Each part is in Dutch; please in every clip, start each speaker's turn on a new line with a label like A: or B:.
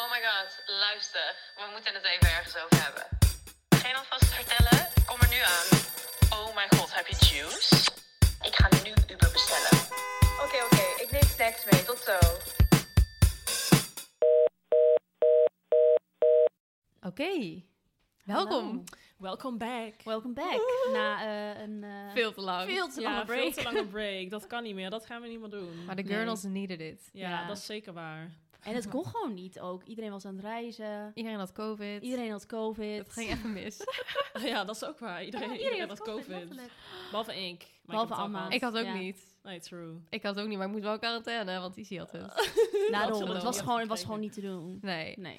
A: Oh my god, luister. We moeten het even ergens over hebben. Geen alvast vertellen? Kom er nu aan. Oh my god, heb je juice? Ik ga nu Uber bestellen. Oké, oké. Ik neem snacks mee. Tot zo.
B: Oké, welkom.
C: Hallo. Welcome back.
B: Welcome back. Na eh, een... eh,
C: Veel te lang.
B: Veel te
C: ja,
B: lange
C: veel
B: break.
C: te lange break. Dat kan niet meer. Dat gaan we niet meer doen.
D: Maar de
B: Nee.
D: girls needed it.
C: ja,
B: ja.
C: dat is zeker waar.
B: En het kon gewoon niet ook. Iedereen was aan het reizen.
D: Iedereen had COVID.
B: Iedereen had covid.
D: Het ging even mis.
C: ja, dat is ook waar. Iedereen, iedereen had COVID. Behalve ik. Maar ik
B: Behalve
C: heb het al
B: Amma.
C: gehad.
D: ik had ook
B: Ja.
D: niet.
C: Nee, true.
D: Ik had ook niet, maar ik moest wel quarantaine, want Izzy had het.
C: Dat ze
B: Daarom,
C: dat
B: het
C: ook
B: was,
C: niet
B: gewoon, het
C: hadden
B: was gewoon niet te doen.
D: Nee.
B: Oh. Nee.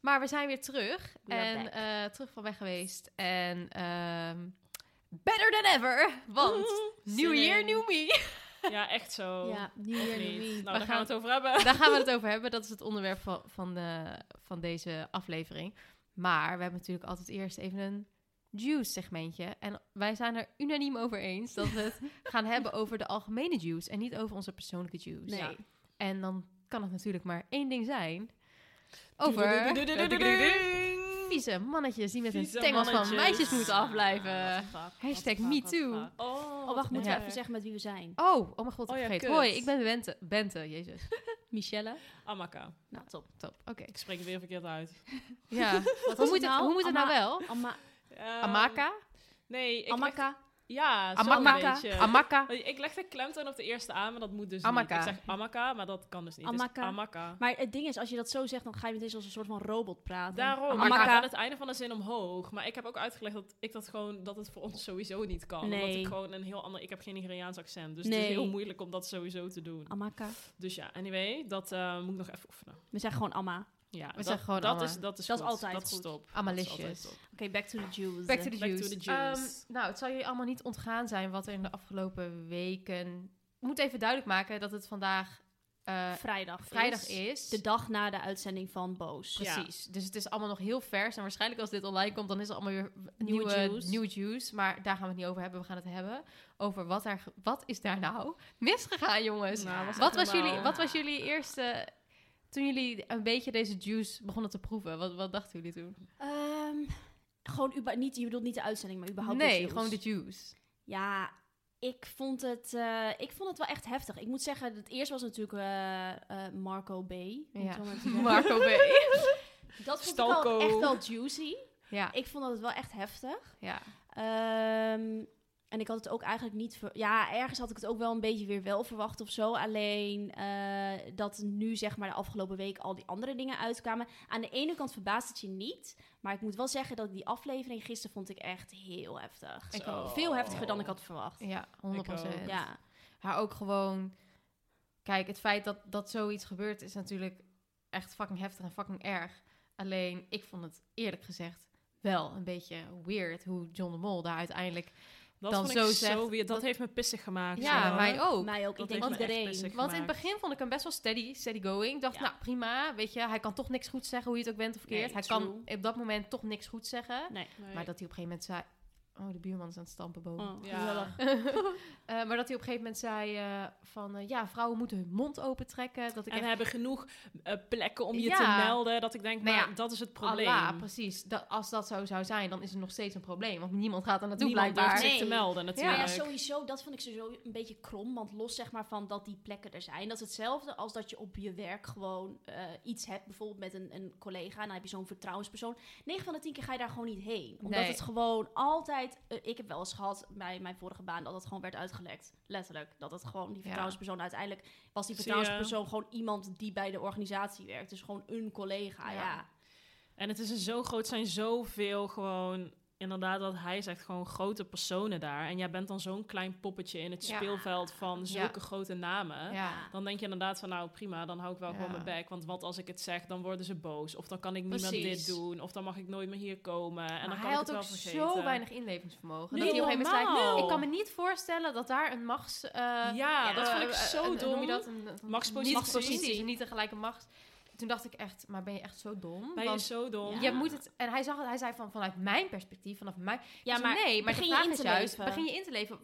D: Maar we zijn weer terug.
B: We are
D: en
B: back.
D: eh, terug van weg geweest. En ehm, better than ever. Want new year,
C: Zin in.
D: new me.
C: Ja, Oh, echt zo.
B: Ja, nieuw
C: Of
B: jaar,
C: niet?
B: nieuw
C: Nou,
B: me.
C: daar gaan,
D: gaan-
C: we het over hebben.
D: Daar gaan we het over hebben. Dat is het onderwerp van, van, de, van deze aflevering. Maar we hebben natuurlijk altijd eerst even een juice segmentje. En wij zijn er unaniem over eens dat we het gaan hebben over de algemene juice. En niet over onze persoonlijke juice.
B: Nee.
C: Ja.
D: En dan kan het natuurlijk maar één ding zijn.
C: Doe,
D: Over
C: doe, doe, doe, doe, doe,
D: vieze mannetjes die met hun
C: Vieze
D: tengels van
C: mannetjes.
D: meisjes moeten
C: Ah,
D: afblijven.
C: what the fuck, what
D: Hashtag
C: the fuck,
D: me
C: what the
D: too.
C: fuck. Oh,
B: Oh,
C: moet
B: wacht, moeten
D: Ja.
B: we even zeggen met wie we zijn?
D: Oh, oh mijn god, ik
C: Oh ja,
D: vergeet.
C: kut.
D: Hoi, ik ben Bente. Bente, jezus.
B: Michelle.
C: Amaka.
B: Nou, top.
D: Top, oké.
C: Ik spreek het weer verkeerd uit.
D: Ja, hoe moet, het,
B: nou?
D: hoe moet het nou wel?
B: Amma,
C: Ehm,
D: Amaka?
C: Nee, ik leg,
B: Amaka.
C: ja, zo een
D: Amaka?
C: beetje.
D: Amaka?
C: Want Nou, Ik leg de klemtoon op de eerste A, maar dat moet dus
D: Amaka.
C: niet. Ik zeg Amaka, maar dat kan dus niet. Het is
B: Amaka.
C: amaka.
B: Maar het ding is, als je dat zo zegt, dan ga je meteen als een soort van robot praten.
C: Daarom,
B: Amaka.
C: maar ik ga aan het einde van de zin omhoog. Maar ik heb ook uitgelegd dat ik dat gewoon, dat het voor ons sowieso niet kan. Omdat
B: Nee.
C: ik gewoon een heel ander, ik heb geen Nigeriaans accent. Dus het
B: Nee.
C: is heel moeilijk om dat sowieso te doen.
B: Amaka.
C: Dus ja, anyway, dat eh, moet ik nog even oefenen.
B: We zeggen gewoon Amma. Oké,
C: Ja, dat,
D: zeggen gewoon
C: dat
D: Amma.
C: is Dat is,
B: Dat is
C: goed.
B: altijd
C: dat is
B: goed.
C: top. Dat is
D: Amalisjes.
C: altijd top.
B: back to the Jews.
D: Back to the
C: Back to
D: juice. Eh,
C: the juice.
D: Ehm, nou, het zal jullie allemaal niet ontgaan zijn wat er in de afgelopen weken... Ik moet even duidelijk maken dat het vandaag eh,
B: Vrijdag.
D: vrijdag is.
B: De dag na de uitzending van Boos.
C: Ja.
D: Precies. Dus het is allemaal nog heel vers. En waarschijnlijk als dit online komt, dan is er allemaal weer nieuwe,
B: Nieuwe
D: nieuwe
B: juice.
D: juice. Maar daar gaan we het niet over hebben. We gaan het hebben over wat, daar, ge- wat is daar nou misgegaan, jongens.
C: Nou, was
D: wat,
C: echt
D: was
C: normaal.
D: jullie, wat was jullie eerste... Toen jullie een beetje deze juice begonnen te proeven, wat, wat dachten jullie toen?
B: Ehm, gewoon, uba- niet, je bedoelt niet de uitzending, maar überhaupt de
D: nee,
B: Jews.
D: gewoon de juice.
B: Ja, ik vond, het, eh, ik vond het wel echt heftig. Ik moet zeggen, het eerste was natuurlijk eh, eh, Marco B. om het zo maar
D: Marco
B: te zeggen.
D: B.
B: dat vond ik
C: Stalko.
B: wel echt wel juicy.
D: ja,
B: Ik vond dat het wel echt heftig.
D: ja.
B: Ehm, en ik had het ook eigenlijk niet... ver- ja, ergens had ik het ook wel een beetje weer wel verwacht of zo. Alleen eh, dat nu zeg maar de afgelopen week al die andere dingen uitkwamen. Aan de ene kant verbaast het je niet. Maar ik moet wel zeggen dat ik die aflevering gisteren vond ik echt heel heftig.
D: Ik
C: Zo.
D: ook.
B: Veel heftiger dan ik had verwacht.
D: Ja, 100%.
C: ook.
B: Ja.
D: Maar ook gewoon... Kijk, het feit dat, dat zoiets gebeurt is natuurlijk echt fucking heftig en fucking erg. Alleen, ik vond het eerlijk gezegd wel een beetje weird hoe John de Mol daar uiteindelijk...
C: Dat
D: Dan
C: vond ik
D: zo
C: zo
D: zegt-
C: weer. Dat heeft me pissig gemaakt.
D: Ja,
C: zo.
D: mij ook.
B: Mij ook.
C: Dat
B: ik denk
C: heeft me echt
B: iedereen.
C: pissig
D: Want in het
C: gemaakt.
D: begin vond ik hem best wel steady, steady going. Ik dacht,
B: Ja.
D: nou prima, weet je, hij kan toch niks goed zeggen hoe je het ook bent of verkeerd.
B: Nee,
D: hij
B: true.
D: kan op dat moment toch niks goed zeggen.
B: Nee.
C: Nee.
D: Maar dat hij op een gegeven moment zei... Oh, de buurman is aan het stampen boven.
B: Oh,
C: Ja.
B: gezellig.
D: Eh, maar dat hij op een gegeven moment zei eh, van... eh, ja, vrouwen moeten hun mond opentrekken. Dat ik
C: En
D: echt
C: we hebben genoeg eh, plekken om je te
D: Ja.
C: melden. Dat ik denk,
D: Maar
C: maar,
D: Nou ja,
C: dat is het probleem.
D: Allah, precies. Dat, als dat zo zou zijn, dan is het nog steeds een probleem. Want niemand gaat er naartoe
C: Niemand durft
D: blijkbaar.
C: zich
B: Nee.
C: te melden
B: Maar
C: natuurlijk.
B: ja, sowieso, dat vond ik sowieso een beetje krom. Want los zeg maar van dat die plekken er zijn. Dat is hetzelfde als dat je op je werk gewoon eh, iets hebt. Bijvoorbeeld met een, een collega. En dan heb je zo'n vertrouwenspersoon. 9 van de 10 keer ga je daar gewoon niet heen. Omdat
D: Nee.
B: het gewoon altijd... eh, ik heb wel eens gehad bij mijn vorige baan dat het gewoon werd uitgelekt. Letterlijk. Dat het gewoon die vertrouwenspersoon uiteindelijk... Was die
C: Zie je.
B: vertrouwenspersoon gewoon iemand die bij de organisatie werkt. Dus gewoon een collega,
D: Ja.
B: ja.
C: En het is een zo groot, zijn zoveel gewoon... Inderdaad, wat hij zegt, gewoon grote personen daar. En jij bent dan zo'n klein poppetje in het
D: Ja.
C: speelveld van zulke grote namen.
D: Ja.
C: Dan denk je inderdaad van, nou prima, dan hou ik wel gewoon
D: Ja.
C: mijn bek. Want wat als ik het zeg, dan worden ze boos. Of dan kan ik niet meer
D: Precies.
C: dit doen. Of dan mag ik nooit meer hier komen. En dan
D: maar hij
C: kan ik
D: had
C: het
D: ook
C: wel vergeten.
D: zo weinig inlevingsvermogen.
C: Niet
D: dat hij op een gegeven moment zei,
C: normaal.
D: ik kan me niet voorstellen dat daar een machts... eh,
C: ja, dat
D: eh,
C: vond ik
D: eh,
C: zo
D: een- een-
C: dom.
D: noem je dat? Een, een-
C: Machtspositie.
D: Niet, precies, niet een gelijke macht. toen dacht ik echt, maar ben je echt zo dom?
C: Ben je
D: Want
C: zo dom?
B: Ja.
D: je moet het. En hij zag het, hij zei van vanuit mijn perspectief, vanaf mijn.
B: Ja,
D: Ik zei,
B: maar
D: Dus nee, maar de
B: Dus begin je
D: vraag
B: in
D: is
B: te
D: juist,
B: leven.
D: begin je in te leven.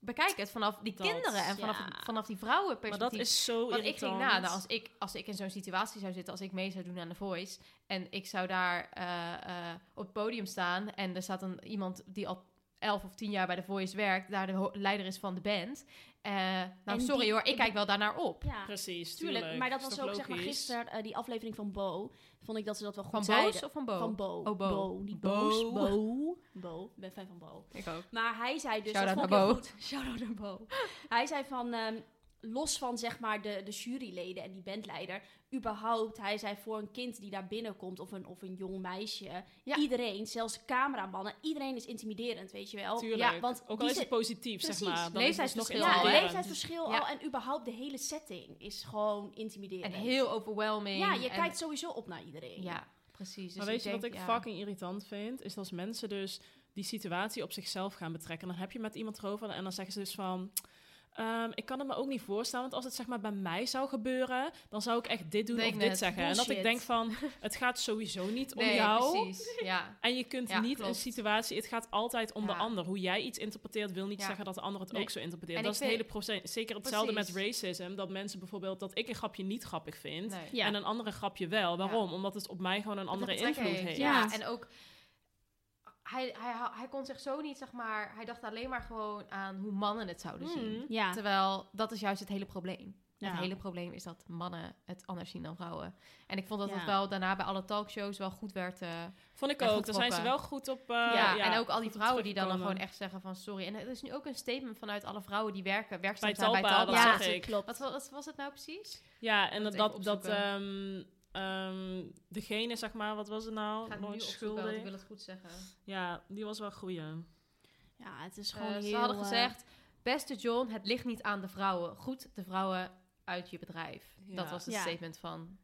D: Bekijk het vanaf die
C: Dat,
D: kinderen en vanaf,
B: ja.
D: het- vanaf die
C: Maar
D: vrouwenperspectief.
C: dat is zo
D: Want ik
C: irritant.
D: ging na, nou, als, ik, als ik in zo'n situatie zou zitten, als ik mee zou doen aan The Voice... en ik zou daar eh, eh, op het podium staan... en er staat een, iemand die al elf of tien jaar bij The Voice werkt... daar de ho- leider is van de band. Eh, nou,
B: En
D: sorry
B: die-
D: hoor, ik kijk wel daarnaar op.
B: Ja,
C: Precies,
B: tuurlijk.
C: tuurlijk.
B: Maar dat
C: Is
B: was
C: toch
B: ook, zeg maar,
C: logisch?
B: gisteren eh, die aflevering van Bo. Vond ik dat ze dat wel goed
D: Van
B: zeiden.
D: Boos of van Bo?
B: Van Bo.
D: Oh, Bo.
B: Niet
D: Bo.
B: Boos. Bo. Bo. Ik ben fan van Bo.
D: Ik ook.
B: Maar hij zei dus...
D: Shout-out
B: dat
D: naar
B: vond ik heel goed. Shout-out naar Bo. Hij zei van... ehm, los van zeg maar de, de juryleden en die bandleider... überhaupt, hij zei voor een kind die daar binnenkomt... of een, of een jong meisje...
D: Ja.
B: iedereen, zelfs cameramannen... iedereen is intimiderend, weet je wel.
C: Tuurlijk.
B: Oh, Ja, want
C: ook al
B: die
C: is het
B: zit-
C: positief,
B: Precies.
C: zeg maar. Dan is het nog
D: Leeftijdsverschil.
B: ja, het
D: inderdaad.
C: intimiderend.
B: leeftijdsverschil
D: Ja.
B: al en überhaupt de hele setting is gewoon
D: En
B: intimiderend.
D: heel overwhelming.
B: Ja, je
D: en-
B: kijkt sowieso op naar iedereen.
D: Ja, precies.
C: Maar
D: Dus
C: weet je wat
D: denk,
C: ik
D: ja.
C: fucking irritant vind? Is als mensen dus die situatie op zichzelf gaan betrekken. Dan heb je met iemand erover en dan zeggen ze dus van... "Ehm, ik kan het me ook niet voorstellen, want als het zeg maar bij mij zou gebeuren, dan zou ik echt dit doen
D: Denk
C: of dit
D: net,
C: zeggen. En dat ik
B: bullshit.
C: denk van, het gaat sowieso niet om
D: Nee,
C: jou.
D: precies. Ja.
C: En je kunt
D: Ja,
C: niet
D: klopt.
C: een situatie, het gaat altijd om de
D: Ja.
C: ander. Hoe jij iets interpreteert, wil niet
D: Ja.
C: zeggen dat de ander het
B: Nee.
C: ook zo interpreteert.
D: En
C: dat
D: ik
C: is het hele
D: vind-
C: proces. Zeker hetzelfde met
D: Precies.
C: racisme, dat mensen bijvoorbeeld, dat ik een grapje niet grappig vind.
D: Nee.
B: Ja.
C: En een andere grapje wel. Waarom? Omdat het op mij gewoon een andere
D: Dat het
C: invloed
D: betrekking
C: heeft.
B: Ja.
D: Ja, en ook... Hij, hij, hij kon zich zo niet, zeg maar... Hij dacht alleen maar gewoon aan hoe mannen het zouden zien.
C: Hmm.
B: Ja.
D: Terwijl, dat is juist het hele probleem.
B: Ja.
D: Het hele probleem is dat mannen het anders zien dan vrouwen. En ik vond dat
B: Ja.
D: het wel daarna bij alle talkshows wel goed werd... eh,
C: Vond ik
D: Ja,
C: ook.
D: goed
C: Daar zijn ze wel
D: oppakken.
C: goed op. eh,
D: ja, en ook al die
C: goed op
D: vrouwen die dan, dan gewoon
C: teruggekomen.
D: echt zeggen van sorry. En er is nu ook een statement vanuit alle vrouwen die werken, werkzaam
C: Bij
D: zijn bij
C: Talpa,
D: Talpa.
C: dat
B: Ja,
C: zag ik.
B: klopt.
D: Wat, wa- wat was het nou precies?
C: Ja, en dat,
D: moet
C: dat,
D: even
C: dat
D: opzoeken.
C: ehm, ehm, degene, zeg maar, wat was het nou?
D: Ik ga het nu
C: Nooit
D: opzoeken, want ik
C: schuldig.
D: wil het goed zeggen.
C: Ja, die was wel goeie.
B: Ja, het is
D: Eh,
B: gewoon heel...
D: ze hadden
B: eh,
D: gezegd, beste John, het ligt niet aan de vrouwen. Goed, de vrouwen uit je bedrijf.
C: Ja.
D: Dat was het
B: Ja.
D: statement van,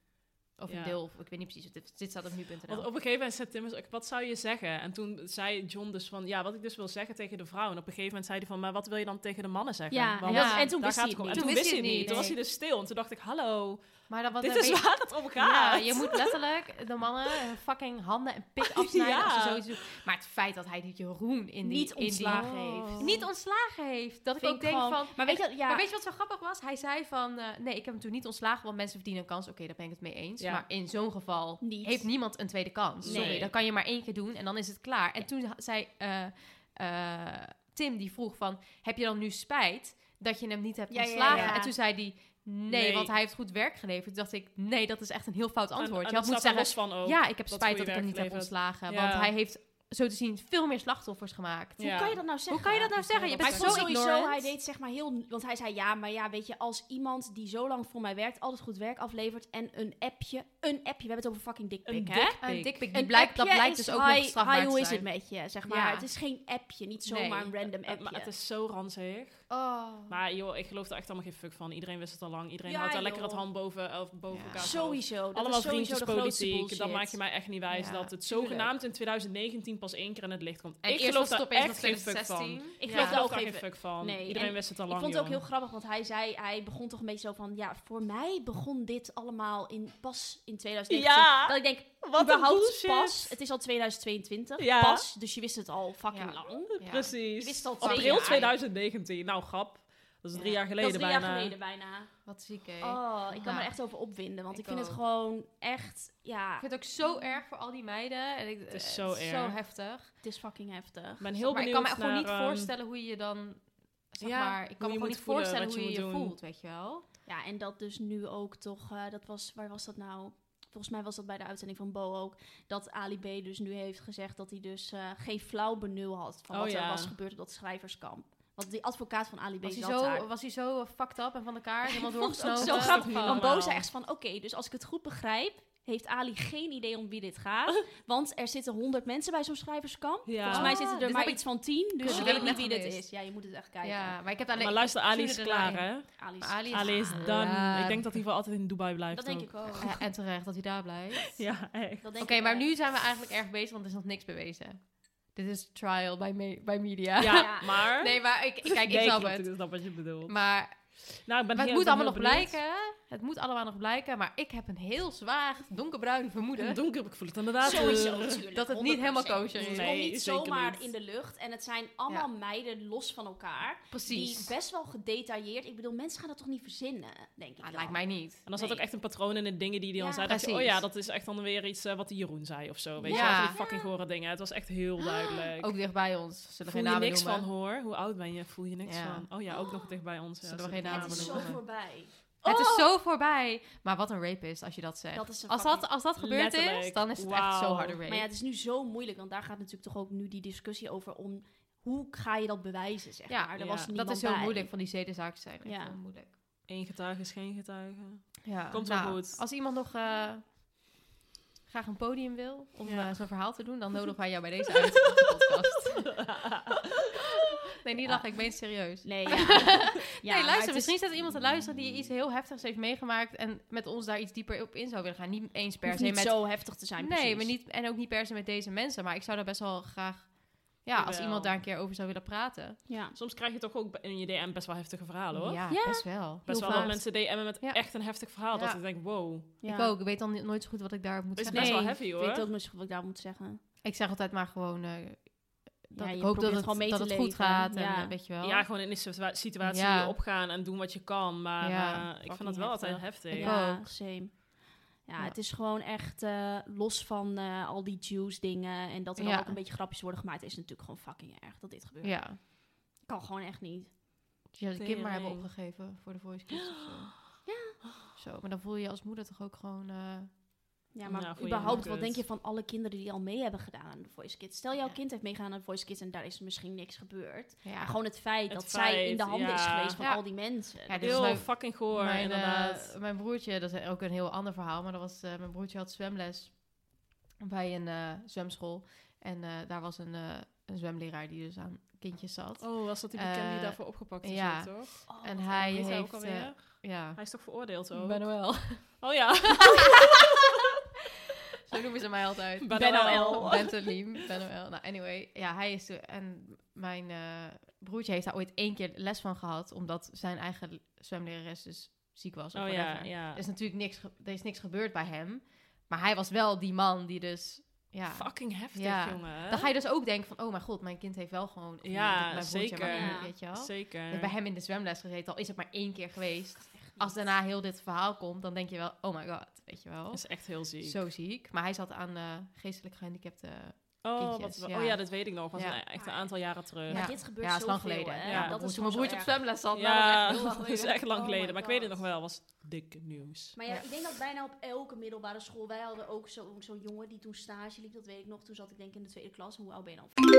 D: of
C: Ja.
D: een deel, of ik weet niet precies. Dit, dit staat op nu.nl.
C: Want op een gegeven moment zei Tim, eens, wat zou je zeggen? En toen zei John dus van, ja, wat ik dus wil zeggen tegen de vrouw. En op een gegeven moment zei hij van, maar wat wil je dan tegen de mannen zeggen?
B: Ja,
C: Want
B: en
D: dat-
B: en
C: daar
B: toen wist hij
C: gaat
B: het
C: het om.
B: niet.
C: En toen wist hij het niet. Toen was
D: Nee.
C: hij dus stil. En toen dacht ik, hallo,
D: Maar dan, wat
C: dit
D: dan
C: is
D: weet-
C: waar het om
D: Ja,
C: gaat.
D: je moet letterlijk de mannen hun fucking handen en pik afsnijden
C: Ja.
D: als ze zoiets doen. Maar het feit dat hij die Jeroen in die...
B: Niet
D: in die-
B: ontslagen
C: Oh.
B: heeft.
D: niet ontslagen heeft. Dat
B: Vind
D: ik
B: ik
D: denk
B: gewoon-
D: van...
B: Maar weet, je, wat- ja,
D: Maar weet je wat zo grappig was? Hij zei van, eh, nee, ik heb hem toen niet ontslagen, want mensen verdienen een kans. Oké, daar ben ik het mee eens.
C: Ja.
D: Maar in zo'n geval
B: Niet.
D: heeft niemand een tweede kans.
C: Nee.
D: Sorry, dat kan je maar één keer doen en dan is het klaar. En toen ha- zei eh, eh, Tim, die vroeg van, heb je dan nu spijt dat je hem niet hebt
B: Ja, ja,
D: ontslagen?
B: ja.
D: En toen zei hij, nee,
C: Nee.
D: want hij heeft goed werk geleverd. Toen dacht ik, nee, dat is echt een heel fout
C: En-
D: antwoord.
C: en
D: je had
C: dat
D: moeten
C: staat er
D: zeggen,
C: los van oh, ook.
D: ja, ik heb
C: dat
D: spijt
C: goede
D: dat ik hem
C: werk
D: niet heb
C: geleverd.
D: ontslagen.
C: Ja.
D: Want hij heeft, zo te zien, veel meer slachtoffers gemaakt.
B: hoe
C: Ja.
B: kan je dat nou zeggen?
D: Hoe kan je dat nou zeggen? Je
C: Maar
D: bent
B: Maar
C: ik
D: zo
B: vond sowieso,
D: ignorant.
B: hij deed zeg maar heel... Want hij zei ja, maar ja, weet je, als iemand die zo lang voor mij werkt... altijd goed werk aflevert en een appje... Een appje, we hebben het over fucking
C: Een
B: dikpik, hè?
C: dick
D: Een
C: pic.
D: dikpik, die
B: Een
D: blijkt, dat
B: appje
D: blijkt
B: is
D: dus ook
B: hi,
D: nog strafbaar
B: hi,
D: te
B: hoe is
D: zijn.
B: het met je? Zeg maar,
D: Ja.
B: het is geen appje, niet zomaar een random
C: Eh,
B: appje.
C: Maar het is zo ranzig.
D: Oh.
C: Maar joh, ik geloof er echt allemaal geen fuck van. Iedereen wist het al lang. Iedereen
B: Ja,
C: houdt daar lekker
B: joh.
C: het hand boven, of boven
D: Ja.
C: elkaar. gehouden.
B: Sowieso, Oh, dat
C: Allemaal
B: is sowieso de grootste
C: vriendjespolitiek.
B: bullshit.
C: Dan maak je mij echt niet wijs
D: Ja,
C: dat het
D: tuurlijk.
C: zogenaamd in 2019 pas één keer in het licht komt.
D: En
C: ik
D: eerst
C: geloof
D: was het
C: daar
D: opeens
C: echt
D: nog
C: geen fuck van.
D: 2016.
B: Ik
C: Ik
D: Ja.
C: geloof daar ook
B: ook
C: daar geen
B: even-
C: fuck van.
B: Nee,
C: Iedereen
B: en
C: wist het al
B: Ik
C: lang,
B: vond het ook heel
C: joh.
B: grappig, want hij zei, hij begon toch een beetje zo van, ja, voor mij begon dit allemaal in, pas in 2019.
C: Ja.
B: Dat ik denk,
C: Wat een
B: überhaupt
C: bullshit.
B: pas, het is al 2022,
C: Ja.
B: pas, dus je wist het al
D: Ja.
B: fucking lang.
D: Ja.
C: Precies.
B: Je wist het al twee
C: April
B: jaar.
C: 2019. Nou, grap. Dat is
D: Ja.
C: drie jaar
B: Dat is
C: geleden
B: drie
C: bijna.
B: jaar geleden bijna.
D: Wat ziek, hè?
B: Oh, ik kan me
D: Ja.
B: er echt over opwinden, want ik,
D: Ik
B: vind het
D: ook.
B: gewoon echt, ja,
D: Ik vind het ook zo erg voor al die meiden. En ik, het
C: is zo
D: is
C: erg.
D: heftig.
B: het is fucking heftig.
C: Ik ben heel
D: maar ik
C: benieuwd
D: kan me gewoon
C: naar,
D: niet
C: ehm,
D: voorstellen hoe je je dan... Zeg
C: Ja,
D: maar, ik
C: hoe
D: kan me
C: je
D: gewoon
C: moet
D: niet
C: voelen,
D: voorstellen
C: wat
D: hoe
C: je
D: je je
C: moet doen.
D: voelt, weet je wel.
B: Ja, en dat dus nu ook toch, eh, dat was, waar was dat nou? Volgens mij was dat bij de uitzending van Bo ook, dat Ali B dus nu heeft gezegd dat hij dus eh, geen flauw benul had van
C: Oh
B: wat er
C: ja.
B: was gebeurd op dat schrijverskamp. Want die advocaat van Ali B
D: Was hij,
B: zat daar.
D: zo, was hij zo eh, fucked up en van elkaar helemaal
B: vond het ook
D: doorgesnoven?
B: zo grappig.
C: Ja.
B: Want Bo
C: Normaal.
B: zei echt van, oké, dus als ik het goed begrijp, heeft Ali geen idee om wie dit gaat. Want er zitten honderd mensen bij zo'n schrijverskamp.
C: Ja.
B: Volgens mij
D: Ah,
B: zitten er
D: dit
B: maar
D: heb
B: iets van tien, dus
D: Kut, dat
B: je weet
D: heb
B: niet
D: ik
B: wie
D: net
B: dit
D: gemist.
B: is. Ja, je moet het echt kijken.
D: Ja, maar ik heb daar
C: Maar
D: alleen-
C: luister, Ali is
D: Tuurlijk erbij.
C: klaar, hè?
B: Ali is-
D: Ali is,
C: Ali is done.
D: klaar.
C: Ik denk dat hij voor altijd in Dubai blijft.
B: dat denk
C: ook.
B: ik ook.
D: Ja, en terecht dat hij daar blijft.
C: Ja, echt.
B: Dat denk
D: Oké,
B: ik
D: maar
B: echt.
D: nu zijn we eigenlijk erg bezig, want er is nog niks bewezen. Dit is trial by, me- by media.
C: Ja,
B: Ja.
C: maar...
D: Nee, maar ik, kijk, ik
C: Nee,
D: snap
C: klopt,
D: het.
C: Ik snap wat je bedoelt.
D: Maar
C: Nou, ik
D: maar het
C: ben heel-
D: moet
C: ik ben
D: allemaal nog
C: heel benieuwd.
D: blijken. Het moet allemaal nog blijken, maar ik heb een heel zwaar donkerbruin vermoeden.
C: Een donker, ik voel het inderdaad.
B: Sowieso,
C: eh,
B: natuurlijk,
D: dat het niet helemaal
B: 100%.
D: kosher is.
B: Het komt
C: Nee,
B: niet
C: zeker
B: zomaar
C: niet.
B: in de lucht. En het zijn allemaal meiden los van elkaar. Die
D: Precies.
B: best wel gedetailleerd... Ik bedoel, mensen gaan dat toch niet verzinnen, denk ik
D: Ah,
B: dan.
D: lijkt mij niet.
C: En dan zat
B: Nee.
C: ook echt een patroon in de dingen die hij
B: Ja.
C: dan zei. Dat je, oh
D: Precies.
C: ja, dat is echt dan weer iets eh, wat die Jeroen zei of zo. Weet je
D: Ja. Ah,
C: wel, van die fucking gore dingen. Het was echt heel duidelijk.
D: Ook dicht bij ons. Zullen we
C: voel
D: geen
C: je
D: namen
C: niks
D: noemen?
C: van hoor. Hoe oud ben je? Voel je niks
D: Ja.
C: van. Oh ja, ook nog dicht bij ons. Ja,
D: Zullen we geen namen
B: Het is zo
D: noemen?
B: voorbij. Oh!
D: Het
C: Oh!
D: is zo voorbij. Maar wat een rapist als je dat zegt.
B: Dat is een
D: als,
B: fucking-
D: dat, als dat gebeurd is,
C: Letterlijk.
D: dan is het echt zo
C: Wauw.
D: harde rape.
B: Maar ja, het is nu zo moeilijk, want daar gaat natuurlijk toch ook nu die discussie over om hoe ga je dat bewijzen, zeg
D: Ja,
B: maar. Er
C: ja,
B: was niemand
D: dat is heel
B: bij.
D: moeilijk. Van die zedenzaken zijn echt
B: Ja.
D: heel moeilijk.
C: Eén getuige is geen getuige.
D: Ja, Nou,
C: Komt wel goed.
D: Als iemand nog eh, graag een podium wil om
C: Ja.
D: eh, zo'n verhaal te doen, dan nodigen wij jou bij deze uit op de podcast. nee, niet lachen, ik meen het serieus.
B: Nee, ja. Ja,
D: nee,
B: maar het
D: luister,
B: is-
D: misschien staat er iemand te luisteren die iets heel heftigs heeft meegemaakt en met ons daar iets dieper op in zou willen gaan. Niet eens per
B: hoeft
D: se
B: niet
D: met...
B: zo heftig te zijn,
D: nee,
B: precies.
D: maar niet, en ook niet per se met deze mensen, maar ik zou daar best wel graag... Ja, als
C: Jawel.
D: iemand daar een keer over zou willen praten.
B: Ja.
C: Soms krijg je toch ook in je DM best wel heftige verhalen hoor.
D: Ja,
B: Ja.
D: best wel.
C: Best
B: heel
C: wel dat
B: vaak.
C: mensen DM'en met
D: Ja.
C: echt een heftig verhaal.
D: Ja.
C: Dat ik denk, wow.
B: ja.
D: Ik ook. Ik weet dan ni- nooit zo goed wat ik daarop moet
C: Dat is
D: zeggen.
C: best wel
B: Nee,
C: heavy
B: Ik weet
C: hoor.
B: ook nog wat ik daar moet zeggen.
D: Ik zeg altijd maar gewoon... eh, dat
B: Ja, je
D: ik hoop
B: probeert
D: dat het,
B: gewoon mee
D: dat
B: te
D: het goed
B: leven.
D: gaat. En,
B: Ja.
D: eh, weet je wel.
C: Ja, gewoon in de situa- situatie
D: Ja.
C: opgaan en doen wat je kan. Maar
D: Ja,
C: eh, ik vind
D: fucking
C: dat wel altijd
D: heftig.
C: heftig.
D: Ik
B: ja,
D: ook.
B: same. Ja,
D: Ja.
B: het is gewoon echt eh, los van eh, al die Jews dingen en dat er
D: Ja.
B: dan ook een beetje grapjes worden gemaakt, is natuurlijk gewoon fucking erg dat dit gebeurt.
D: ja.
B: Kan gewoon echt niet.
D: Dus ja, de kind maar hebben
C: Tering.
D: opgegeven voor de voice kids of zo. Zo, maar dan voel je je als moeder toch ook gewoon... eh,
B: Ja, maar
C: Nou, voor je
B: überhaupt,
C: kut.
B: wat denk je van alle kinderen die al mee hebben gedaan aan de Voice Kids? Stel, jouw
D: Ja.
B: kind heeft meegaan aan de Voice Kids en daar is misschien niks gebeurd.
D: ja,
B: Maar gewoon het feit
C: Het
B: dat zij in de
C: feit,
B: handen is
C: ja.
B: geweest van
D: Ja.
B: al die mensen.
D: Ja, dus
B: Ja,
D: dit is
C: Heel
D: mijn-
C: fucking goor,
D: mijn, eh,
C: inderdaad.
D: mijn broertje, dat is ook een heel ander verhaal. Maar dat was, eh, mijn broertje had zwemles bij een eh, zwemschool. En eh, daar was een, eh, een zwemleraar die dus aan kindjes zat.
C: Oh, was dat die bekende die
D: Eh,
C: daarvoor opgepakt is?
D: ja.
C: ook, toch?
B: Oh,
D: en hij
C: Heet hij ook
D: heeft...
C: alweer?
D: eh, ja,
C: hij is toch veroordeeld ook?
D: Manuel.
C: Oh ja.
D: Zo noemen ze mij altijd.
C: Ben Ben Noël. Noël.
D: Bentelim, Ben Noël. Nou, anyway. Ja, hij is... de- En mijn eh, broertje heeft daar ooit één keer les van gehad. Omdat zijn eigen zwemlerares dus ziek was. Of
C: Oh ja,
D: whatever.
C: ja.
D: Er is natuurlijk niks, ge- er is niks gebeurd bij hem. Maar hij was wel die man die dus... Ja.
C: Fucking heftig,
D: Ja.
C: jongen.
D: Dan ga je dus ook denken van... Oh mijn god, mijn kind heeft wel gewoon... of
C: Ja,
D: niet, mijn broertje,
C: zeker.
D: maar niet,
B: Ja.
D: weet je wel.
C: Zeker.
D: Dus bij hem in de zwemles gezeten. Al is het maar één keer geweest. Als daarna heel dit verhaal komt, dan denk je wel... Oh my god, weet je wel.
C: Dat is echt heel ziek.
D: Zo ziek. Maar hij zat aan eh, geestelijk gehandicapte.
C: oh, wat,
D: kindjes,
C: oh
D: ja.
C: ja, dat weet ik nog. Dat was
D: Ja.
C: een- echt een aantal jaren terug.
B: Maar
D: Ja.
B: dit gebeurt
D: ja, is
B: zo
D: lang
B: veel,
D: geleden.
B: hè?
D: Ja,
C: Ja,
B: dat
D: Toen
B: is
D: mijn
B: gewoon
D: broertje op
B: zo erg.
D: zwemles zat.
C: Ja,
D: nou, dat was echt heel
C: dat is
D: geleden.
C: echt lang
D: Oh my
C: geleden. maar ik weet het nog
D: God.
C: wel. was dik nieuws.
B: Maar ja,
D: Ja.
B: ik denk dat bijna op elke middelbare school... Wij hadden ook zo- zo'n jongen die toen stage liep, dat weet ik nog. Toen zat ik denk ik in de tweede klas. Hoe oud ben je dan?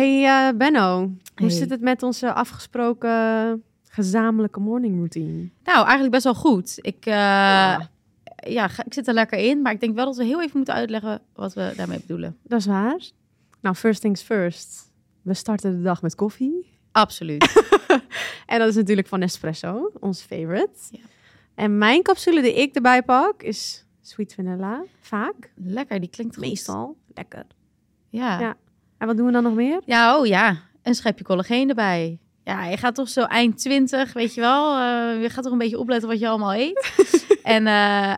E: Hey eh, Benno, hoe
D: Hey.
E: zit het met onze afgesproken gezamenlijke morning routine?
F: Nou, eigenlijk best wel goed. Ik, eh, ja, ga- ik zit er lekker in, maar ik denk wel dat we heel even moeten uitleggen wat we daarmee bedoelen.
E: Dat is waar. Nou, first things first. We starten de dag met koffie.
F: Absoluut.
E: En dat is natuurlijk van Nespresso, ons favorite.
F: Ja.
E: En mijn capsule die ik erbij pak is sweet vanilla, vaak.
F: lekker, die klinkt goed.
E: Meestal. Lekker.
F: Ja.
E: Ja.
F: ja.
E: En wat doen we dan nog meer?
F: oh ja. Een schepje collageen erbij. Ja, je gaat toch zo eind 20, weet je wel. eh, je gaat toch een beetje opletten wat je allemaal eet. en eh,